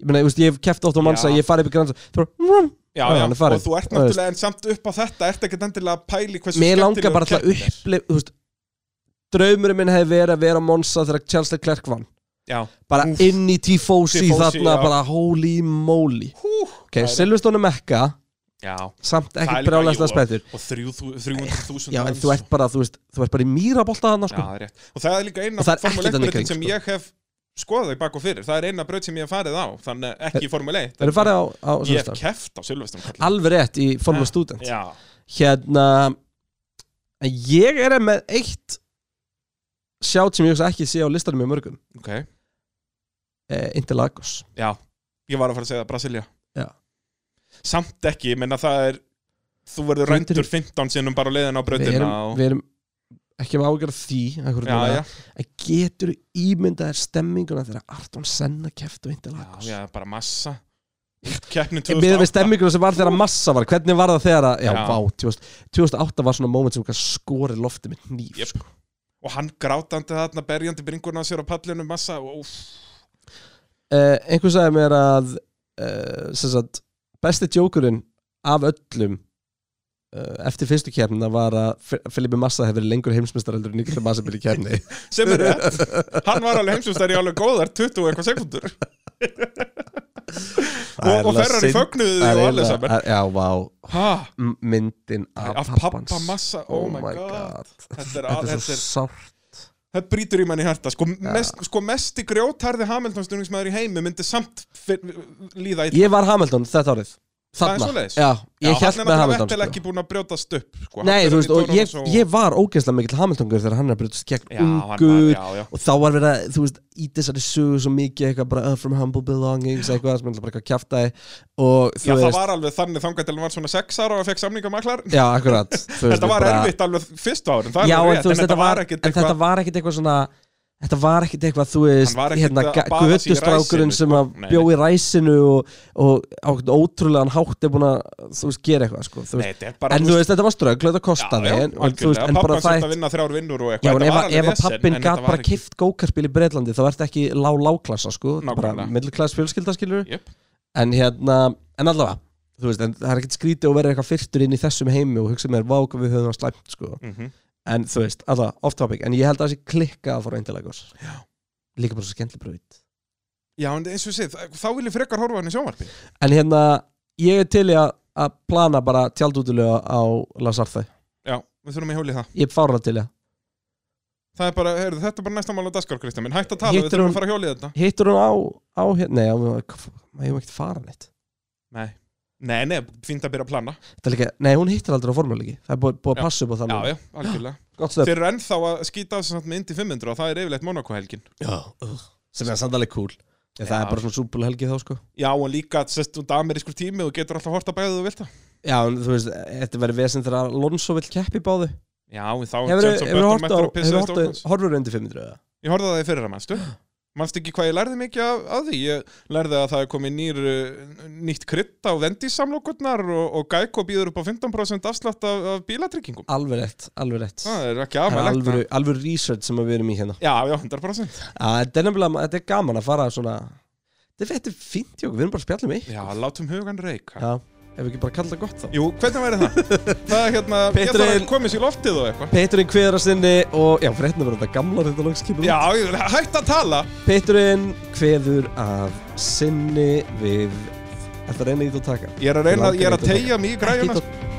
S1: Ég meina, þú veist, ég hef keft oft á Monsa
S2: Já.
S1: Ég farið upp í grann Þú mm, var
S2: Já,
S1: Já,
S2: já,
S1: hann er farinn.
S2: og þú ert
S1: Það veist.
S2: náttúrulega en samt upp á þetta ert ekkert endilega að pæli hversu
S1: Mér
S2: skemmtilegur
S1: langar bara alltaf
S2: keppnin er.
S1: upplif Þú veist, draumurinn minn hefði verið að vera á Monsa Þegar Charles Leclerc vann
S2: Já,
S1: Bara
S2: Úff.
S1: inn í Tifosi
S2: Tifosi,
S1: þarna
S2: já.
S1: Bara holy moly
S2: hú
S1: Ok, Silveston er mekka
S2: Já,
S1: Samt
S2: Það er
S1: ekki
S2: líka-
S1: brjálæslega
S2: jú,
S1: spenntur
S2: og þrjú þú- 300.000
S1: Já, en
S2: manns
S1: þú
S2: og-
S1: ert bara, þú veist, þú ert bara í mýrabolta þarna,
S2: Já,
S1: sko.
S2: það er rétt. Og það er líka eina
S1: Og það er
S2: Formule
S1: ekkert
S2: 1
S1: annað
S2: brautin
S1: kring,
S2: sem
S1: sko.
S2: ég hef skoðað í bak og fyrir. Það er eina braut sem ég hef farið á, þannig ekki í Formule 1.
S1: Það eru farið á, á
S2: Ég hef
S1: Silverstone.
S2: keft á Silveston kallar.
S1: Alveg rétt í Formula
S2: Ja.
S1: Student.
S2: Já,
S1: Hérna, en ég er með eitt sjátt sem ég hugsa ekki sé á listanum með mörgum.
S2: ok.
S1: Eh, Interlagos.
S2: Já, ég var að fara að segja Brasilia.
S1: Já.
S2: Samt ekki, ég menna það er, þú verður
S1: Rændur-
S2: rændur 15 sinnum bara leiðin á
S1: Við
S2: brautina.
S1: erum, við erum ekki með ágjörð því,
S2: og...
S1: akkur,
S2: Já, já,
S1: en getur ímyndaðir stemminguna þegar Arton Senna keft á Interlagos.
S2: já, já, bara massa. Keppnin
S1: Ég miður við
S2: 2008.
S1: stemminguna sem var þegar massa var, hvernig var það þegar að, já,
S2: Já.
S1: vá, 2000, 2008 var svona moment sem skori loftið með nýf,
S2: Jep.
S1: sko.
S2: Og hann grátandi þarna, berjandi bringurna sér á pallinu massa. Og, úff,
S1: uh, einhver sagði mér að uh, sem sagt, besti djókurinn af öllum uh, eftir fyrstu kefnina var að Filipe Massa hefur verið lengur heimsmyndar heldur en Nikita Massa byrja kefni
S2: sem er rétt. Hann var alveg heimsumstæri alveg góðar 20 og eitthvað sekundur. og, og Ferrari fögnuðu því og allir saman
S1: Já, vá,
S2: ha,
S1: m- myndin af,
S2: af pappa
S1: pappans.
S2: massa, oh my god, þetta er,
S1: Þetta
S2: þetta
S1: er svo sárt
S2: þetta brýtur í manni hjarta sko, mest, sko mesti grjótarði Hamilton stundningsmæður í heimi myndi samt fyr, líða í
S1: Ég var Hamilton þetta árið
S2: Það er
S1: Þarna,
S2: svoleiðis.
S1: já, ég held
S2: hann er
S1: með
S2: náttúrulega
S1: Hamilton
S2: Vettel
S1: sko.
S2: ekki búin að brjótast upp sko.
S1: Nei,
S2: Hann
S1: þú
S2: fer
S1: veist,
S2: inn í
S1: og ég,
S2: Donovan
S1: ég var ógeðslega mikill Hamiltongur þegar hann er að brjótast gegn
S2: Já, hann var-
S1: ungur
S2: já, já.
S1: og þá var verið að, þú veist, í þessari sögu svo mikið eitthvað bara uh, from humble belongings eitthvað sem er bara eitthvað kjaftaði og þú
S2: Já, það
S1: veist,
S2: var alveg þannig þangað til hann var svona 6 ára og fekk samningamaklar
S1: já, akkurat þú veist,
S2: Þetta var
S1: bara-
S2: erfitt alveg fyrstu árin það er
S1: Já,
S2: alveg
S1: en
S2: rétt,
S1: þú veist, þetta var,
S2: ekkert
S1: en þetta
S2: eitthvað
S1: var ekkit eitthvað svona Þetta var ekkit eitthvað, þú veist,
S2: var ekkit
S1: hérna,
S2: að
S1: ga-
S2: baða sig í
S1: götustrákurinn
S2: ræsinu,
S1: sem að
S2: Nei,
S1: bjó í ræsinu og, og á einhvern ótrúlegan hátt er búin að, þú veist, gera eitthvað, sko, þú
S2: Nei,
S1: veist
S2: þetta er bara
S1: En þú veist, þetta var ströggl, þetta kostaði
S2: Já, já,
S1: en, og, þú veist, en bara
S2: pappan
S1: það
S2: sett
S1: eitt
S2: að vinna þrjár vinnur og
S1: Já,
S2: eitthvað
S1: en
S2: Þetta
S1: ef,
S2: var alveg
S1: ef að
S2: vesen,
S1: pappin
S2: en þetta
S1: gæt
S2: var
S1: bara
S2: ekki-
S1: kift gókarspil í Breitlandi þá ertu ekki lág-lágklassa sko bara
S2: Nákvæmlega.
S1: middleklass fjölskylda skilur
S2: Jöp.
S1: en hérna, en allavega þú veist, en það er ekkert skrítið að vera eitthvað fyrtur inn í þessum heimi og hugsa mér, vá, hvað við höfum það slæmt sko,
S2: Mhm.
S1: en þú veist, allavega off topic, en ég held að það sé klikka að fóra eindilegos líka bara svo skemmtileg bröðið
S2: Já, en eins og séð, þá vil ég frekar horfa hann í sjónvarpi
S1: en hérna, ég er til í að að plana bara tjaldútulega á Lasarþau,
S2: Já, við þurfum að hjóli það
S1: ég er fárlega til í að
S2: Það er bara, heyrðu, þetta er bara næsta mál á daskar, Kristján minn Hætt að tala,
S1: Hittir
S2: við þurfum
S1: hún-
S2: að fara að hjóli þetta
S1: hittur hún á, á hérna, nei, á- maður hefur ekkert fara neitt
S2: Nei, nei, nei, fínt að byrja að plana
S1: Það er líka, nei, hún hittir aldrei á formúleiki Það er búið, búið að
S2: Já.
S1: passa upp á það
S2: Já,
S1: núna.
S2: já, algjörlega
S1: Gott
S2: Þeir
S1: stöð
S2: eru ennþá að skýta af þessu með Indy 500 og það er yfirleitt Monaco-helgin
S1: Sem er samt alveg cool Ég, Það
S2: Já.
S1: er bara svona súbúlhelgi þá sko
S2: Já, og líka, sérst, út af amerískur tími og getur alltaf horta bæðið og vilt það
S1: Já, en þú veist, þetta verður vesend þegar Alonso vill keppi báðu
S2: Já, en þá
S1: Hefur
S2: James
S1: þú
S2: Burton
S1: hort á,
S2: mættur og
S1: hefur
S2: pissaðist
S1: hort
S2: á
S1: á,
S2: okkur.
S1: horfur undir 500 eða?
S2: Ég horfði að það í fyrra, manstu? Manstu ekki hvað ég lærði mikið af, af því? Ég lærði að það er komið nýr, uh, nýtt krydd á vendísamlokurnar og, og Geico býður upp á 15% afslátt af, af bílatryggingum.
S1: Alveg rétt, alveg rétt
S2: Það er ekki
S1: Það er
S2: afmælegt.
S1: alvöru, alvöru research sem við erum í hérna
S2: Já, já, 100%.
S1: Að Þetta er nefnilega, þetta er gaman að fara svona þetta er- þetta er fínt jók, við erum bara að spjalla um eitt
S2: Já, látum hugan reika.
S1: já, ef við ekki bara kalla það gott þá
S2: Jú, hvernig væri það? það er hérna, ég
S1: Petri-
S2: þarf að komast í loftið og eitthvað.
S1: Peturinn kveður að sinni og já, fréttina verður þetta gamla reyndalókskipum
S2: Já, ég- hætt að tala.
S1: Peturinn kveður að sinni við Þetta reyna ít að taka
S2: Ég er að reyna,
S1: Langar
S2: ég er að
S1: í þetta.
S2: tegja mig í sko. græjuna.
S1: Ít að